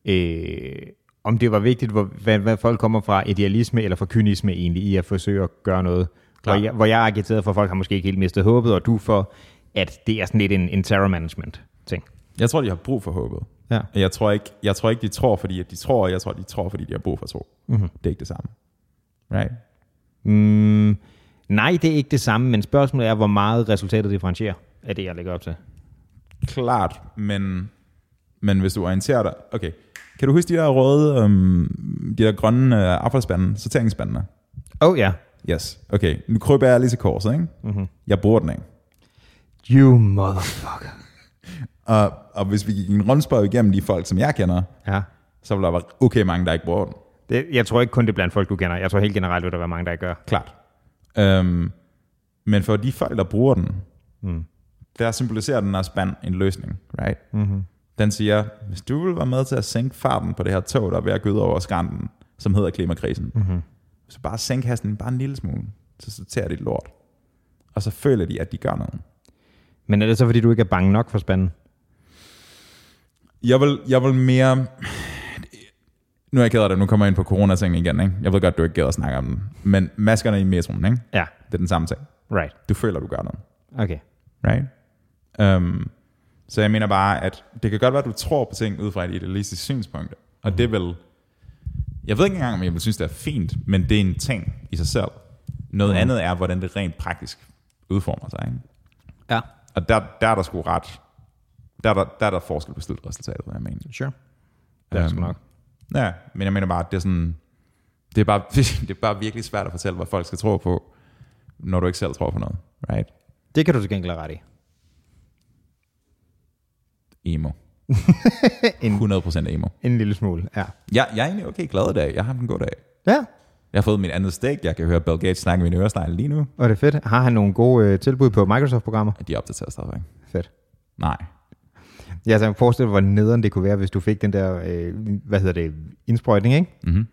Speaker 2: øh, om det var vigtigt, hvor, hvad, hvad folk kommer fra idealisme eller fra kynisme egentlig, i at forsøge at gøre noget. Hvor
Speaker 1: Klar.
Speaker 2: jeg, hvor jeg er agiteret for, at folk har måske ikke helt mistet håbet, og du for, at det er sådan lidt en, en terror management ting.
Speaker 1: Jeg tror, de har brug for håbet.
Speaker 2: Ja.
Speaker 1: Jeg tror ikke, jeg tror ikke de tror, fordi at de tror, og jeg tror, de tror, fordi de har brug for tro. Mm-hmm. Det er ikke det samme. Right?
Speaker 2: Mm, nej, det er ikke det samme, men spørgsmålet er, hvor meget resultatet differentierer af det, jeg lægger op til.
Speaker 1: Klart, men, men hvis du orienterer dig... Okay, kan du huske de der røde, øhm, de der grønne øh, affaldsspande, sorteringsspandene?
Speaker 2: Oh ja. Yeah.
Speaker 1: Yes, okay. Nu kryber jeg lige til korset, ikke? Mm-hmm. Jeg bruger den ikke.
Speaker 2: You motherfucker.
Speaker 1: Og, og hvis vi gik en rundspørg igennem de folk, som jeg kender,
Speaker 2: Ja.
Speaker 1: så ville der være okay mange, der ikke bruger den.
Speaker 2: Det, jeg tror ikke kun det er blandt folk, du kender. Jeg tror helt generelt, vil der være mange, der ikke gør.
Speaker 1: Klart. Øhm, men for de folk, der bruger den, mm. der symboliserer den her spand en løsning, right? Mm-hmm. Den siger, hvis du vil være med til at sænke farten på det her tog, der er ved at gå ud over skrænten, som hedder klimakrisen, mm-hmm. så bare sænk hasten bare en lille smule, så sorterer de lort. Og så føler de, at de gør noget.
Speaker 2: Men er det så, fordi du ikke er bange nok for spanden?
Speaker 1: Jeg vil, jeg vil mere... Nu er jeg ked af det, nu kommer jeg ind på coronatingen igen, ikke? Jeg ved godt, du ikke gider at snakke om den. Men maskerne i metroen, ikke?
Speaker 2: Ja,
Speaker 1: Det er den samme ting.
Speaker 2: right.
Speaker 1: Du føler, du gør noget.
Speaker 2: Okay.
Speaker 1: Right? Um, så jeg mener bare, at det kan godt være, at du tror på ting ud fra et idealistisk synspunkt. Og det vil... Jeg ved ikke engang, om jeg vil synes, det er fint, men det er en ting i sig selv. Noget mm. andet er, hvordan det rent praktisk udformer sig. Ikke?
Speaker 2: Ja,
Speaker 1: Og der, der er der sgu ret... Der er der, der, er der forskel på slutresultatet, jeg mener.
Speaker 2: sure. Det er
Speaker 1: Øhm,
Speaker 2: sgu nok.
Speaker 1: Ja, men jeg mener bare, at det er sådan... Det er, bare, det er bare virkelig svært at fortælle, hvad folk skal tro på, når du ikke selv tror på noget. Right?
Speaker 2: Det kan du til gengæld have ret i.
Speaker 1: Emo.
Speaker 2: En-
Speaker 1: 100% emo.
Speaker 2: En lille smule, ja.
Speaker 1: Jeg, jeg er egentlig okay glad i dag. Jeg har haft en god dag.
Speaker 2: Ja,
Speaker 1: Jeg har fået mit andet stik. Jeg kan høre Bill Gates snakke i min øresnegle lige nu.
Speaker 2: og det er fedt. Har han nogle gode øh, tilbud på Microsoft-programmer?
Speaker 1: Er de opdateret stadigvæk?
Speaker 2: Fedt.
Speaker 1: Nej.
Speaker 2: Ja, altså, jeg kan forestille mig, hvor nederen det kunne være, hvis du fik den der, øh, hvad hedder det, indsprøjtning, ikke?
Speaker 1: Mm-hmm.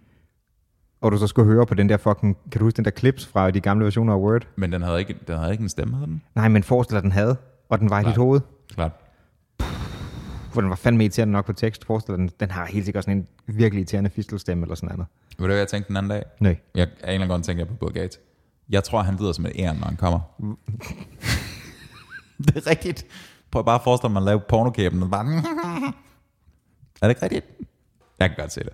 Speaker 2: Og du så skulle høre på den der fucking, kan du huske den der clips fra de gamle versioner af Word?
Speaker 1: Men den havde ikke, den havde ikke en stemme, havde den?
Speaker 2: Nej, men forestil dig, at den havde, og den var i
Speaker 1: Nej.
Speaker 2: dit hoved.
Speaker 1: Klart.
Speaker 2: For den var fandme irriterende nok på tekst. Forestil dig, den, den har helt sikkert også sådan en virkelig irriterende fistelstemme eller sådan noget.
Speaker 1: Ved du, hvad jeg tænkte den anden dag?
Speaker 2: Nej.
Speaker 1: Jeg, af en eller anden grund tænker jeg på Bill Gates. Jeg tror, han lyder som et æren, når han kommer. det er rigtigt. Prøv bare at forestille mig at lave pornokæben. og Bare... er det ikke rigtigt? Jeg kan godt se det.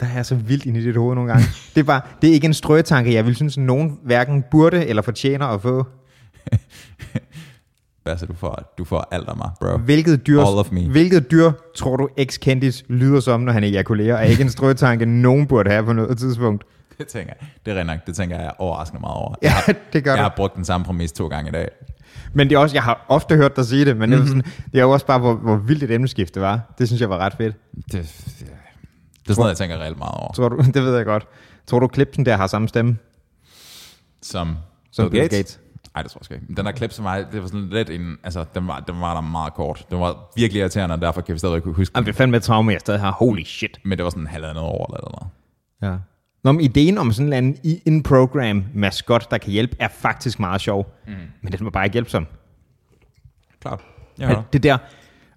Speaker 2: Der er jeg så vildt inde i dit hoved nogle gange. det, er bare, det er ikke en strøgetanke, jeg vil synes, at nogen hverken burde eller fortjener at få.
Speaker 1: Basse, du får, du får alt af mig, bro.
Speaker 2: Hvilket dyr,
Speaker 1: All of me.
Speaker 2: hvilket dyr tror du ex-kendis lyder som, når han ejakulerer, er ikke en strøgetanke, nogen burde have på noget tidspunkt.
Speaker 1: Det tænker jeg. Det er rent nok. Det tænker jeg overraskende meget over.
Speaker 2: Ja, det gør
Speaker 1: Jeg
Speaker 2: du.
Speaker 1: har brugt den samme præmis to gange i dag.
Speaker 2: Men det er også, jeg har ofte hørt dig sige det, men mm-hmm. det, er sådan, det er jo også bare, hvor, hvor vildt et emneskift det var. Det synes jeg var ret fedt.
Speaker 1: Det, ja. det er sådan noget, jeg tænker reelt meget over.
Speaker 2: Tror du, det ved jeg godt. Tror du, klipsen der har samme stemme?
Speaker 1: Som,
Speaker 2: Som Bill Gates?
Speaker 1: Nej, det tror jeg sgu ikke. Den der klip, som var, det var sådan lidt en... Altså, den var, den var der meget kort. Den var virkelig irriterende, og derfor kan vi stadig ikke huske den.
Speaker 2: Jamen, det er fandme et traume, jeg stadig har. Holy shit.
Speaker 1: Men det var sådan halvandet år eller noget.
Speaker 2: Ja. Nå, men ideen om sådan en eller anden i- in-program maskot, der kan hjælpe, er faktisk meget sjov. Mm. Men den var bare ikke hjælpsom.
Speaker 1: Klart.
Speaker 2: Ja.
Speaker 1: Ja.
Speaker 2: Det der,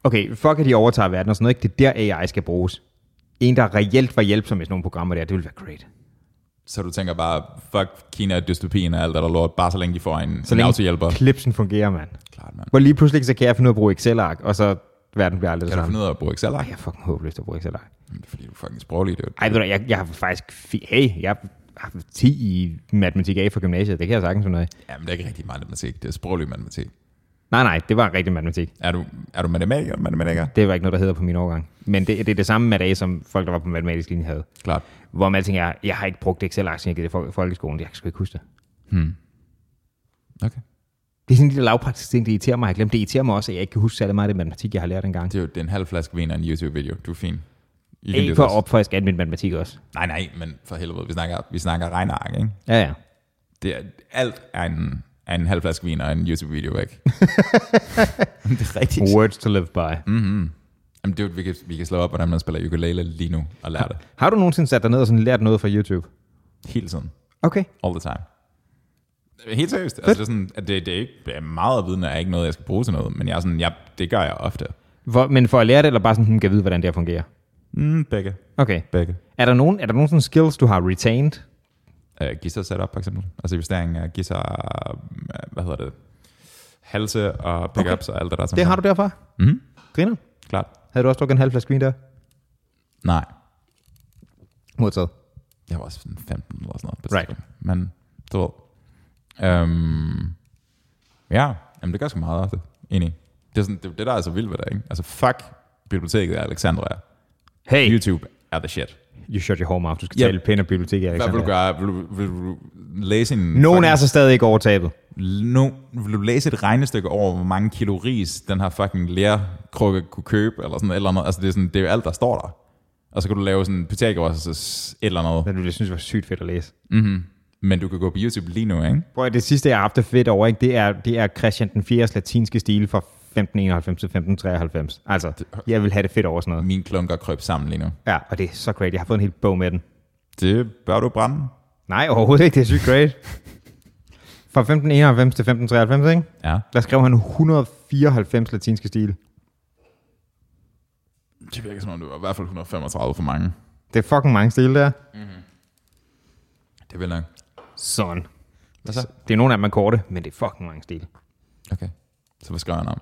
Speaker 2: okay, fuck at de overtager verden og sådan noget, ikke? det er der AI skal bruges. En, der reelt var hjælpsom i sådan nogle programmer der, det ville være great.
Speaker 1: Så du tænker bare, fuck Kina, dystopien og alt det der lort, bare så længe de får en,
Speaker 2: Så
Speaker 1: en autohjælper.
Speaker 2: klipsen fungerer, mand.
Speaker 1: Klart, mand.
Speaker 2: Hvor lige pludselig, så kan jeg finde ud af at bruge Excel-ark, og så verden bliver aldrig det
Speaker 1: Kan du
Speaker 2: samme.
Speaker 1: finde ud af at bruge Excel?
Speaker 2: Ej, jeg er fucking håbløst at bruge Excel-ark.
Speaker 1: Det er fordi, du er fucking sproglig, det
Speaker 2: Ej, ved du, hvad, jeg, jeg har faktisk... Fi- hey, jeg har haft 10 i matematik A for gymnasiet. Det kan jeg sagtens finde ud af.
Speaker 1: Jamen, det er ikke rigtig matematik. Det er sproglig matematik.
Speaker 2: Nej, nej, det var rigtig matematik.
Speaker 1: Er du, er du matematiker? matematiker?
Speaker 2: Det var ikke noget, der hedder på min årgang. Men det, det er det samme med A, som folk, der var på matematisk linje havde.
Speaker 1: Klart.
Speaker 2: Hvor man tænker, jeg, jeg har ikke brugt Excel-ark, siden jeg givet det fol- folkeskolen. Jeg kan sgu ikke huske det.
Speaker 1: Okay.
Speaker 2: Det er sådan en lille lavpraktisk ting, det irriterer mig. Jeg glemte, det irriterer mig også, at jeg ikke kan huske særlig meget af det matematik, jeg har lært engang.
Speaker 1: Det er jo det er en halv flaske vin og en YouTube-video. Du er fin. You can
Speaker 2: Ikke
Speaker 1: do
Speaker 2: for
Speaker 1: this.
Speaker 2: at opfriske alt min matematik også.
Speaker 1: Nej, nej, men for helvede. Vi snakker, vi snakker regneark, ikke?
Speaker 2: Ja, ja.
Speaker 1: Det er, alt er en, er en halv flaske vin og en YouTube-video væk. det er rigtigt.
Speaker 2: Words to live by. Mm.
Speaker 1: Jamen, det er, jo- vi, kan, vi kan slå op, hvordan man spiller ukulele lige nu og lære det.
Speaker 2: Har du nogensinde sat dig ned og sådan lært noget fra YouTube?
Speaker 1: Hele tiden.
Speaker 2: Okay.
Speaker 1: All the time. Helt seriøst. Altså, det, er sådan, at det, det, er ikke, det er meget viden, er ikke noget, jeg skal bruge til noget, men jeg er sådan, jeg, det gør jeg ofte.
Speaker 2: Hvor, men for at lære det, eller bare sådan, hmm, kan jeg vide, hvordan det her fungerer?
Speaker 1: Mm, begge.
Speaker 2: Okay.
Speaker 1: Begge.
Speaker 2: Er der nogen, er der nogen sådan skills, du har retained?
Speaker 1: Uh, Gizzer setup, for eksempel. Altså justering af Gizzer, øh, hvad hedder det, halse og pickups okay. og alt det der. som
Speaker 2: Det har du derfra?
Speaker 1: Mhm.
Speaker 2: Griner.
Speaker 1: Klart.
Speaker 2: Havde du også drukket en halv flaske vin der?
Speaker 1: Nej.
Speaker 2: Modtaget.
Speaker 1: Jeg var også sådan 15 eller sådan noget. på
Speaker 2: Right.
Speaker 1: tidspunkt. Men du ved. Øhm, ja, jamen det gør sgu meget ofte. Enig. Det er sådan, det, det der er så vildt ved det, ikke? Altså fuck biblioteket af Alexandria.
Speaker 2: Hey, you,
Speaker 1: YouTube er the shit.
Speaker 2: you shut your home off. Du skal
Speaker 1: Ja.
Speaker 2: yep. tale pænt om biblioteket,
Speaker 1: Hvad
Speaker 2: Alexander.
Speaker 1: vil du gøre? Vil du, vil du læse en...
Speaker 2: Nogen
Speaker 1: fucking-
Speaker 2: er så stadig ikke overtabet.
Speaker 1: no, vil du læse et regnestykke over, hvor mange kilo ris den her fucking lærkrukke kunne købe, eller sådan et eller andet. Altså, det er, sådan, det er jo alt, der står der. Og så kan du lave sådan Pythagoras et eller andet.
Speaker 2: Det ville jeg synes, det var sygt fedt at læse.
Speaker 1: Men du kan gå på YouTube lige nu, ikke?
Speaker 2: Prøv at det sidste, jeg har haft det fedt over, ikke? Det, er, det er Christian den 4. latinske stil fra 1591 til 1593. Altså, jeg vil have det fedt over sådan noget.
Speaker 1: Min klunker krøb sammen lige nu.
Speaker 2: Ja, og det er så great. Jeg har fået en hel bog med den.
Speaker 1: Det bør du brænde.
Speaker 2: Nej, overhovedet ikke. Det er sygt great. Fra 1591 til 1593, ikke?
Speaker 1: Ja.
Speaker 2: Der skrev han 194 latinske stil.
Speaker 1: Det virker som om, du var i hvert fald 135 for mange.
Speaker 2: Det er fucking mange stile der.
Speaker 1: Det vil nok.
Speaker 2: Sådan.
Speaker 1: Hvad så?
Speaker 2: Det er nogle af dem er korte, men det er fucking mange stil.
Speaker 1: Okay. Så hvad skriver han om?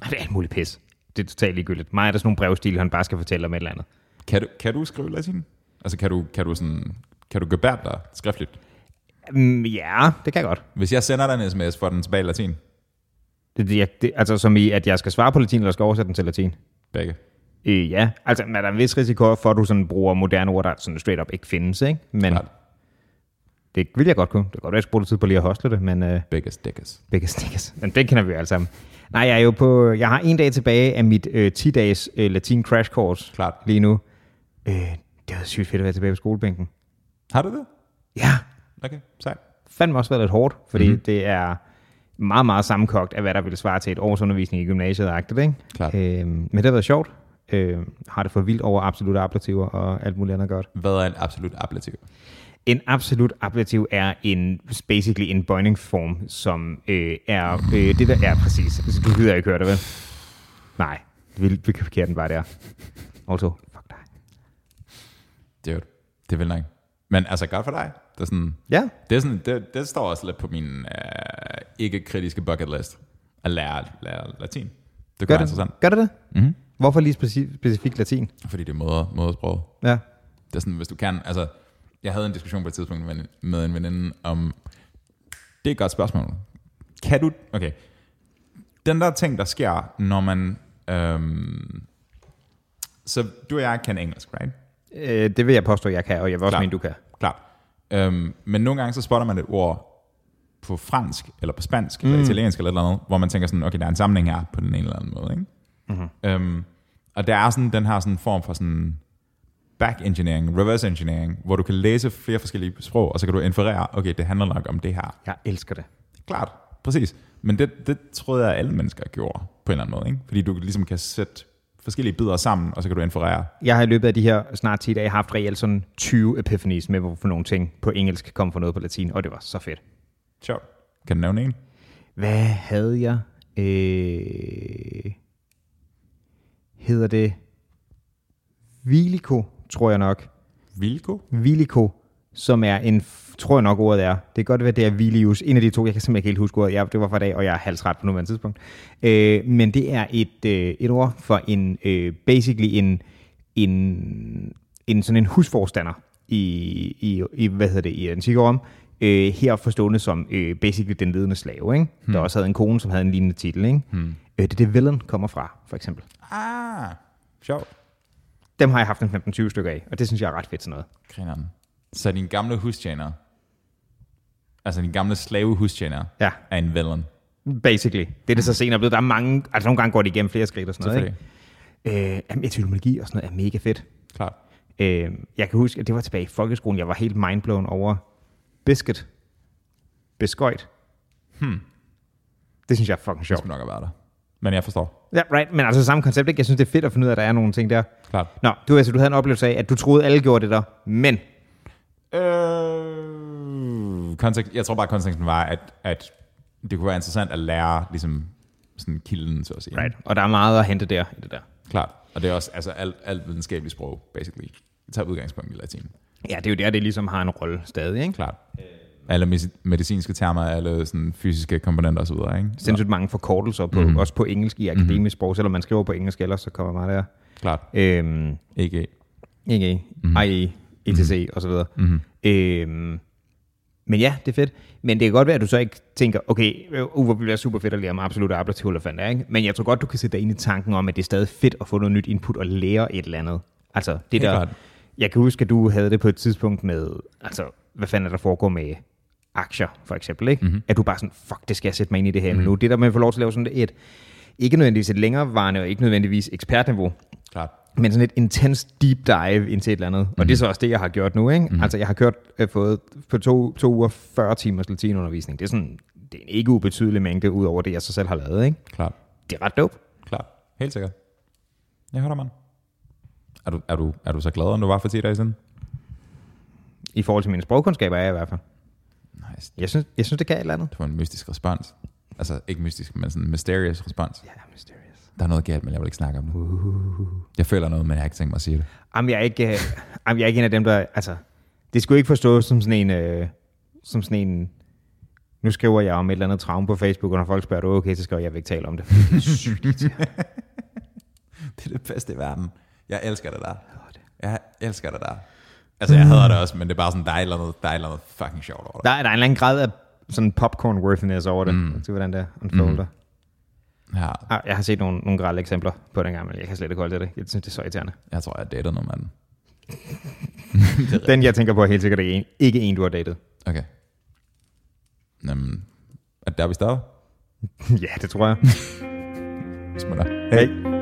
Speaker 2: Og det er alt muligt pis. Det er totalt ligegyldigt. Mig er der sådan nogle brevstil, han bare skal fortælle om et eller andet.
Speaker 1: Kan du, kan du skrive latin? Altså, kan du, kan du sådan... Kan du gebære dig skriftligt?
Speaker 2: Mm, ja, det kan jeg godt.
Speaker 1: Hvis jeg sender dig en sms, får den tilbage i latin?
Speaker 2: Det, det, jeg- det, altså som i, at jeg skal svare på latin, eller skal oversætte den til latin?
Speaker 1: Begge.
Speaker 2: Øh, ja, altså men er der en vis risiko for, at du sådan bruger moderne ord, der sådan straight up ikke findes, ikke? Men
Speaker 1: Klart.
Speaker 2: det vil jeg godt kunne. Det kan godt være, at jeg skulle bruge lidt tid på lige at hostle det, men... Øh,
Speaker 1: Begge stikkes.
Speaker 2: Begge stikkes. Men det kender vi jo alle sammen. Nej, jeg er jo på... Jeg har en dag tilbage af mit øh, 10-dages øh, latin crash course
Speaker 1: Klart.
Speaker 2: lige nu. Øh, Det var sygt fedt at være tilbage på skolebænken.
Speaker 1: Har du det?
Speaker 2: Ja,
Speaker 1: Okay, sejt.
Speaker 2: fandme også været lidt hårdt, fordi
Speaker 1: Mhm.
Speaker 2: mm-hmm. det er meget, meget sammenkogt af, hvad der ville svare til et års undervisning i gymnasiet. Ikke?
Speaker 1: Klart.
Speaker 2: Øhm, men det har været sjovt. Øhm, har det for vildt over absolut ablativer og alt muligt andet godt.
Speaker 1: Hvad er en absolut ablativ?
Speaker 2: En absolut ablativ er en basically en bøjningsform, som øh, er øh, det der er præcis. Så du gider ikke høre det, vel? Nej, vi, vi kan parkere den bare der. Also, fuck dig.
Speaker 1: Det er jo det er vel nok. Men altså, godt for dig. Det, er sådan,
Speaker 2: Ja,
Speaker 1: det, er sådan, det, det står også lidt på min øh, ikke-kritiske bucket list. At lære, lære latin. Det
Speaker 2: gør
Speaker 1: kunne være
Speaker 2: det,
Speaker 1: interessant.
Speaker 2: gør det det?
Speaker 1: Mm-hmm.
Speaker 2: Hvorfor lige speci- specifikt latin?
Speaker 1: Fordi det er moder, modersproget.
Speaker 2: Ja.
Speaker 1: Det er sådan, hvis du kan, altså, jeg havde en diskussion på et tidspunkt med, en- med en veninde om, det er et godt spørgsmål. Kan du, okay, den der ting, der sker, når man, øhm, så du og jeg kan engelsk, right?
Speaker 2: Øh, det vil jeg påstå, jeg kan, og jeg vil også
Speaker 1: Klar.
Speaker 2: mene, du kan.
Speaker 1: Klart. Øhm, men nogle gange, så spotter man et ord på fransk, eller på spansk, mm. eller italiensk, eller et eller andet, hvor man tænker sådan, okay, der er en sammenhæng her, på den ene eller anden måde, ikke? Mm-hmm. Øhm, og der er sådan den her sådan form for sådan back engineering, reverse engineering, hvor du kan læse flere forskellige sprog, og så kan du inferere, okay, det handler nok om det her.
Speaker 2: Jeg elsker det.
Speaker 1: Klart, præcis. Men det, det troede jeg, at alle mennesker gjorde, på en eller anden måde, ikke? Fordi du ligesom kan sætte forskellige bidder sammen, og så kan du inferere,
Speaker 2: Jeg har i løbet af de her snart 10 dage haft reelt sådan 20 epiphanies med, hvorfor nogle ting på engelsk kom fra noget på latin, og det var så fedt.
Speaker 1: sjovt, kan du nævne en?
Speaker 2: Hvad havde jeg? Øh, hedder det Vilico, tror jeg nok.
Speaker 1: Vilko?
Speaker 2: Vilico, som er en, f- tror jeg nok ordet er. Det kan godt være, det er Vilius. En af de to, jeg kan simpelthen ikke helt huske ordet. Jeg, det var fra i dag, og jeg er halvtræt på nuværende tidspunkt. Øh, men det er et, øh, et ord for en, øh, basically en, en, en, sådan en husforstander i, i, i hvad hedder det, i Antikorum. Øh, her forstående som øh, basically den ledende slave, ikke? Hmm. der også havde en kone, som havde en lignende titel. Ikke? Hmm. Øh, det er det, villain kommer fra, for eksempel.
Speaker 1: Ah, sjovt.
Speaker 2: Dem har jeg haft en 15-20 stykker af, og det synes jeg er ret fedt sådan noget.
Speaker 1: Grineren. Så din gamle hustjener, altså din gamle slave hustjener,
Speaker 2: Ja.
Speaker 1: er en villain.
Speaker 2: Basically. Det er det så senere blevet. Der er mange, altså nogle gange går det igennem flere skridt og sådan noget. Ikke? Øh, jamen, etymologi og sådan noget er mega fedt.
Speaker 1: Klart.
Speaker 2: Øh, jeg kan huske, at det var tilbage i folkeskolen. Jeg var helt mindblown over biscuit. Beskøjt. Hmm. Det synes jeg er fucking
Speaker 1: Det
Speaker 2: sjovt.
Speaker 1: skulle nok have været der. Men jeg forstår.
Speaker 2: Ja, right. Men altså samme koncept, ikke? Jeg synes, det er fedt at finde ud af, at der er nogle ting der.
Speaker 1: Klart.
Speaker 2: Nå, du, altså, du havde en oplevelse af, at du troede, alle gjorde det der. Men
Speaker 1: Øh, kontekst, jeg tror bare, at konteksten var, at, at det kunne være interessant at lære ligesom, sådan kilden, så at sige.
Speaker 2: right. Og der er meget at hente der i det der.
Speaker 1: Klart. Og det er også altså, alt, alt videnskabeligt sprog, basically. Det tager udgangspunkt i latin.
Speaker 2: Ja, det er jo der, det ligesom har en rolle stadig, ikke?
Speaker 1: Klart. Øh. Alle medic- medicinske termer, alle sådan, fysiske komponenter osv. Ikke? Så,
Speaker 2: Sindssygt mange forkortelser, på, mm-hmm. også på engelsk i akademisk mm-hmm. sprog. Selvom man skriver på engelsk ellers, så kommer meget der.
Speaker 1: klart.
Speaker 2: Øhm,
Speaker 1: Ikke.
Speaker 2: ikke
Speaker 1: Mhm.
Speaker 2: mm-hmm. IE, ETC mm-hmm. osv. Mm-hmm. Øhm, men ja, det er fedt. Men det kan godt være, at du så ikke tænker, okay, øh, uh, hvor bliver det super fedt at lære om absolut ablativ eller fandt ikke? Men jeg tror godt, du kan sætte dig ind i tanken om, at det er stadig fedt at få noget nyt input og lære et eller andet. Altså, det
Speaker 1: Helt
Speaker 2: der...
Speaker 1: klart.
Speaker 2: Jeg kan huske, at du havde det på et tidspunkt med, altså, hvad fanden er der foregår med aktier, for eksempel, ikke?
Speaker 1: Mhm.
Speaker 2: Mm-hmm. At du bare sådan, fuck, det skal jeg sætte mig ind i det her mm-hmm. nu. Det der med at få lov til at lave sådan et, ikke nødvendigvis et længerevarende og ikke nødvendigvis ekspertniveau,
Speaker 1: Klart.
Speaker 2: men sådan et intens deep dive ind til et eller andet. Mm. Og det er så også det, jeg har gjort nu. Ikke? Mm. Altså, jeg har kørt, øh, fået på to, to uger 40 timers latinundervisning. Det er sådan det er en ikke ubetydelig mængde, ud over det, jeg så selv har lavet. Ikke?
Speaker 1: Klart.
Speaker 2: Det er ret dope.
Speaker 1: Klart. Helt sikkert. Jeg hører dig, mand. Er du, er, du, er du så glad, end du var for 10 dage siden?
Speaker 2: I forhold til mine sprogkundskaber er jeg i hvert fald.
Speaker 1: Nice.
Speaker 2: Jeg synes, jeg synes det kan et eller andet.
Speaker 1: Det var en mystisk respons. Altså, ikke mystisk, men sådan en mysterious respons.
Speaker 2: Ja, mysterious.
Speaker 1: Der er noget galt, men jeg vil ikke snakke om det. Jeg føler noget, men jeg har ikke tænkt mig at sige det.
Speaker 2: Jamen, jeg er ikke, øh, jamen, jeg er ikke en af dem, der... Altså, det skulle ikke forstås som sådan en... Øh, som sådan en nu skriver jeg om et eller andet traume på Facebook, og når folk spørger, er du okay, så skriver jeg, jeg vil ikke tale om det. Det er sygt.
Speaker 1: Det er det bedste i verden. Jeg elsker det der. Jeg elsker det der. Altså, jeg hader det også, men det er bare sådan, der er et eller andet, der er et eller andet fucking sjovt over det.
Speaker 2: Der er, der er en eller anden grad af sådan popcorn-worthiness over det. Mm. Se, hvordan det unfolder. Mm.
Speaker 1: Ja,
Speaker 2: Ah, jeg har set nogle, nogle grælde eksempler på den gang, men jeg kan slet ikke holde til det. Jeg synes, det er så irriterende.
Speaker 1: jeg tror, jeg dater noget, mand.
Speaker 2: Den, jeg tænker på, er helt sikkert ikke en, ikke en du har datet.
Speaker 1: Okay. Jamen, er det der, vi starter?
Speaker 2: ja, det tror jeg.
Speaker 1: Smutter.
Speaker 2: Hey.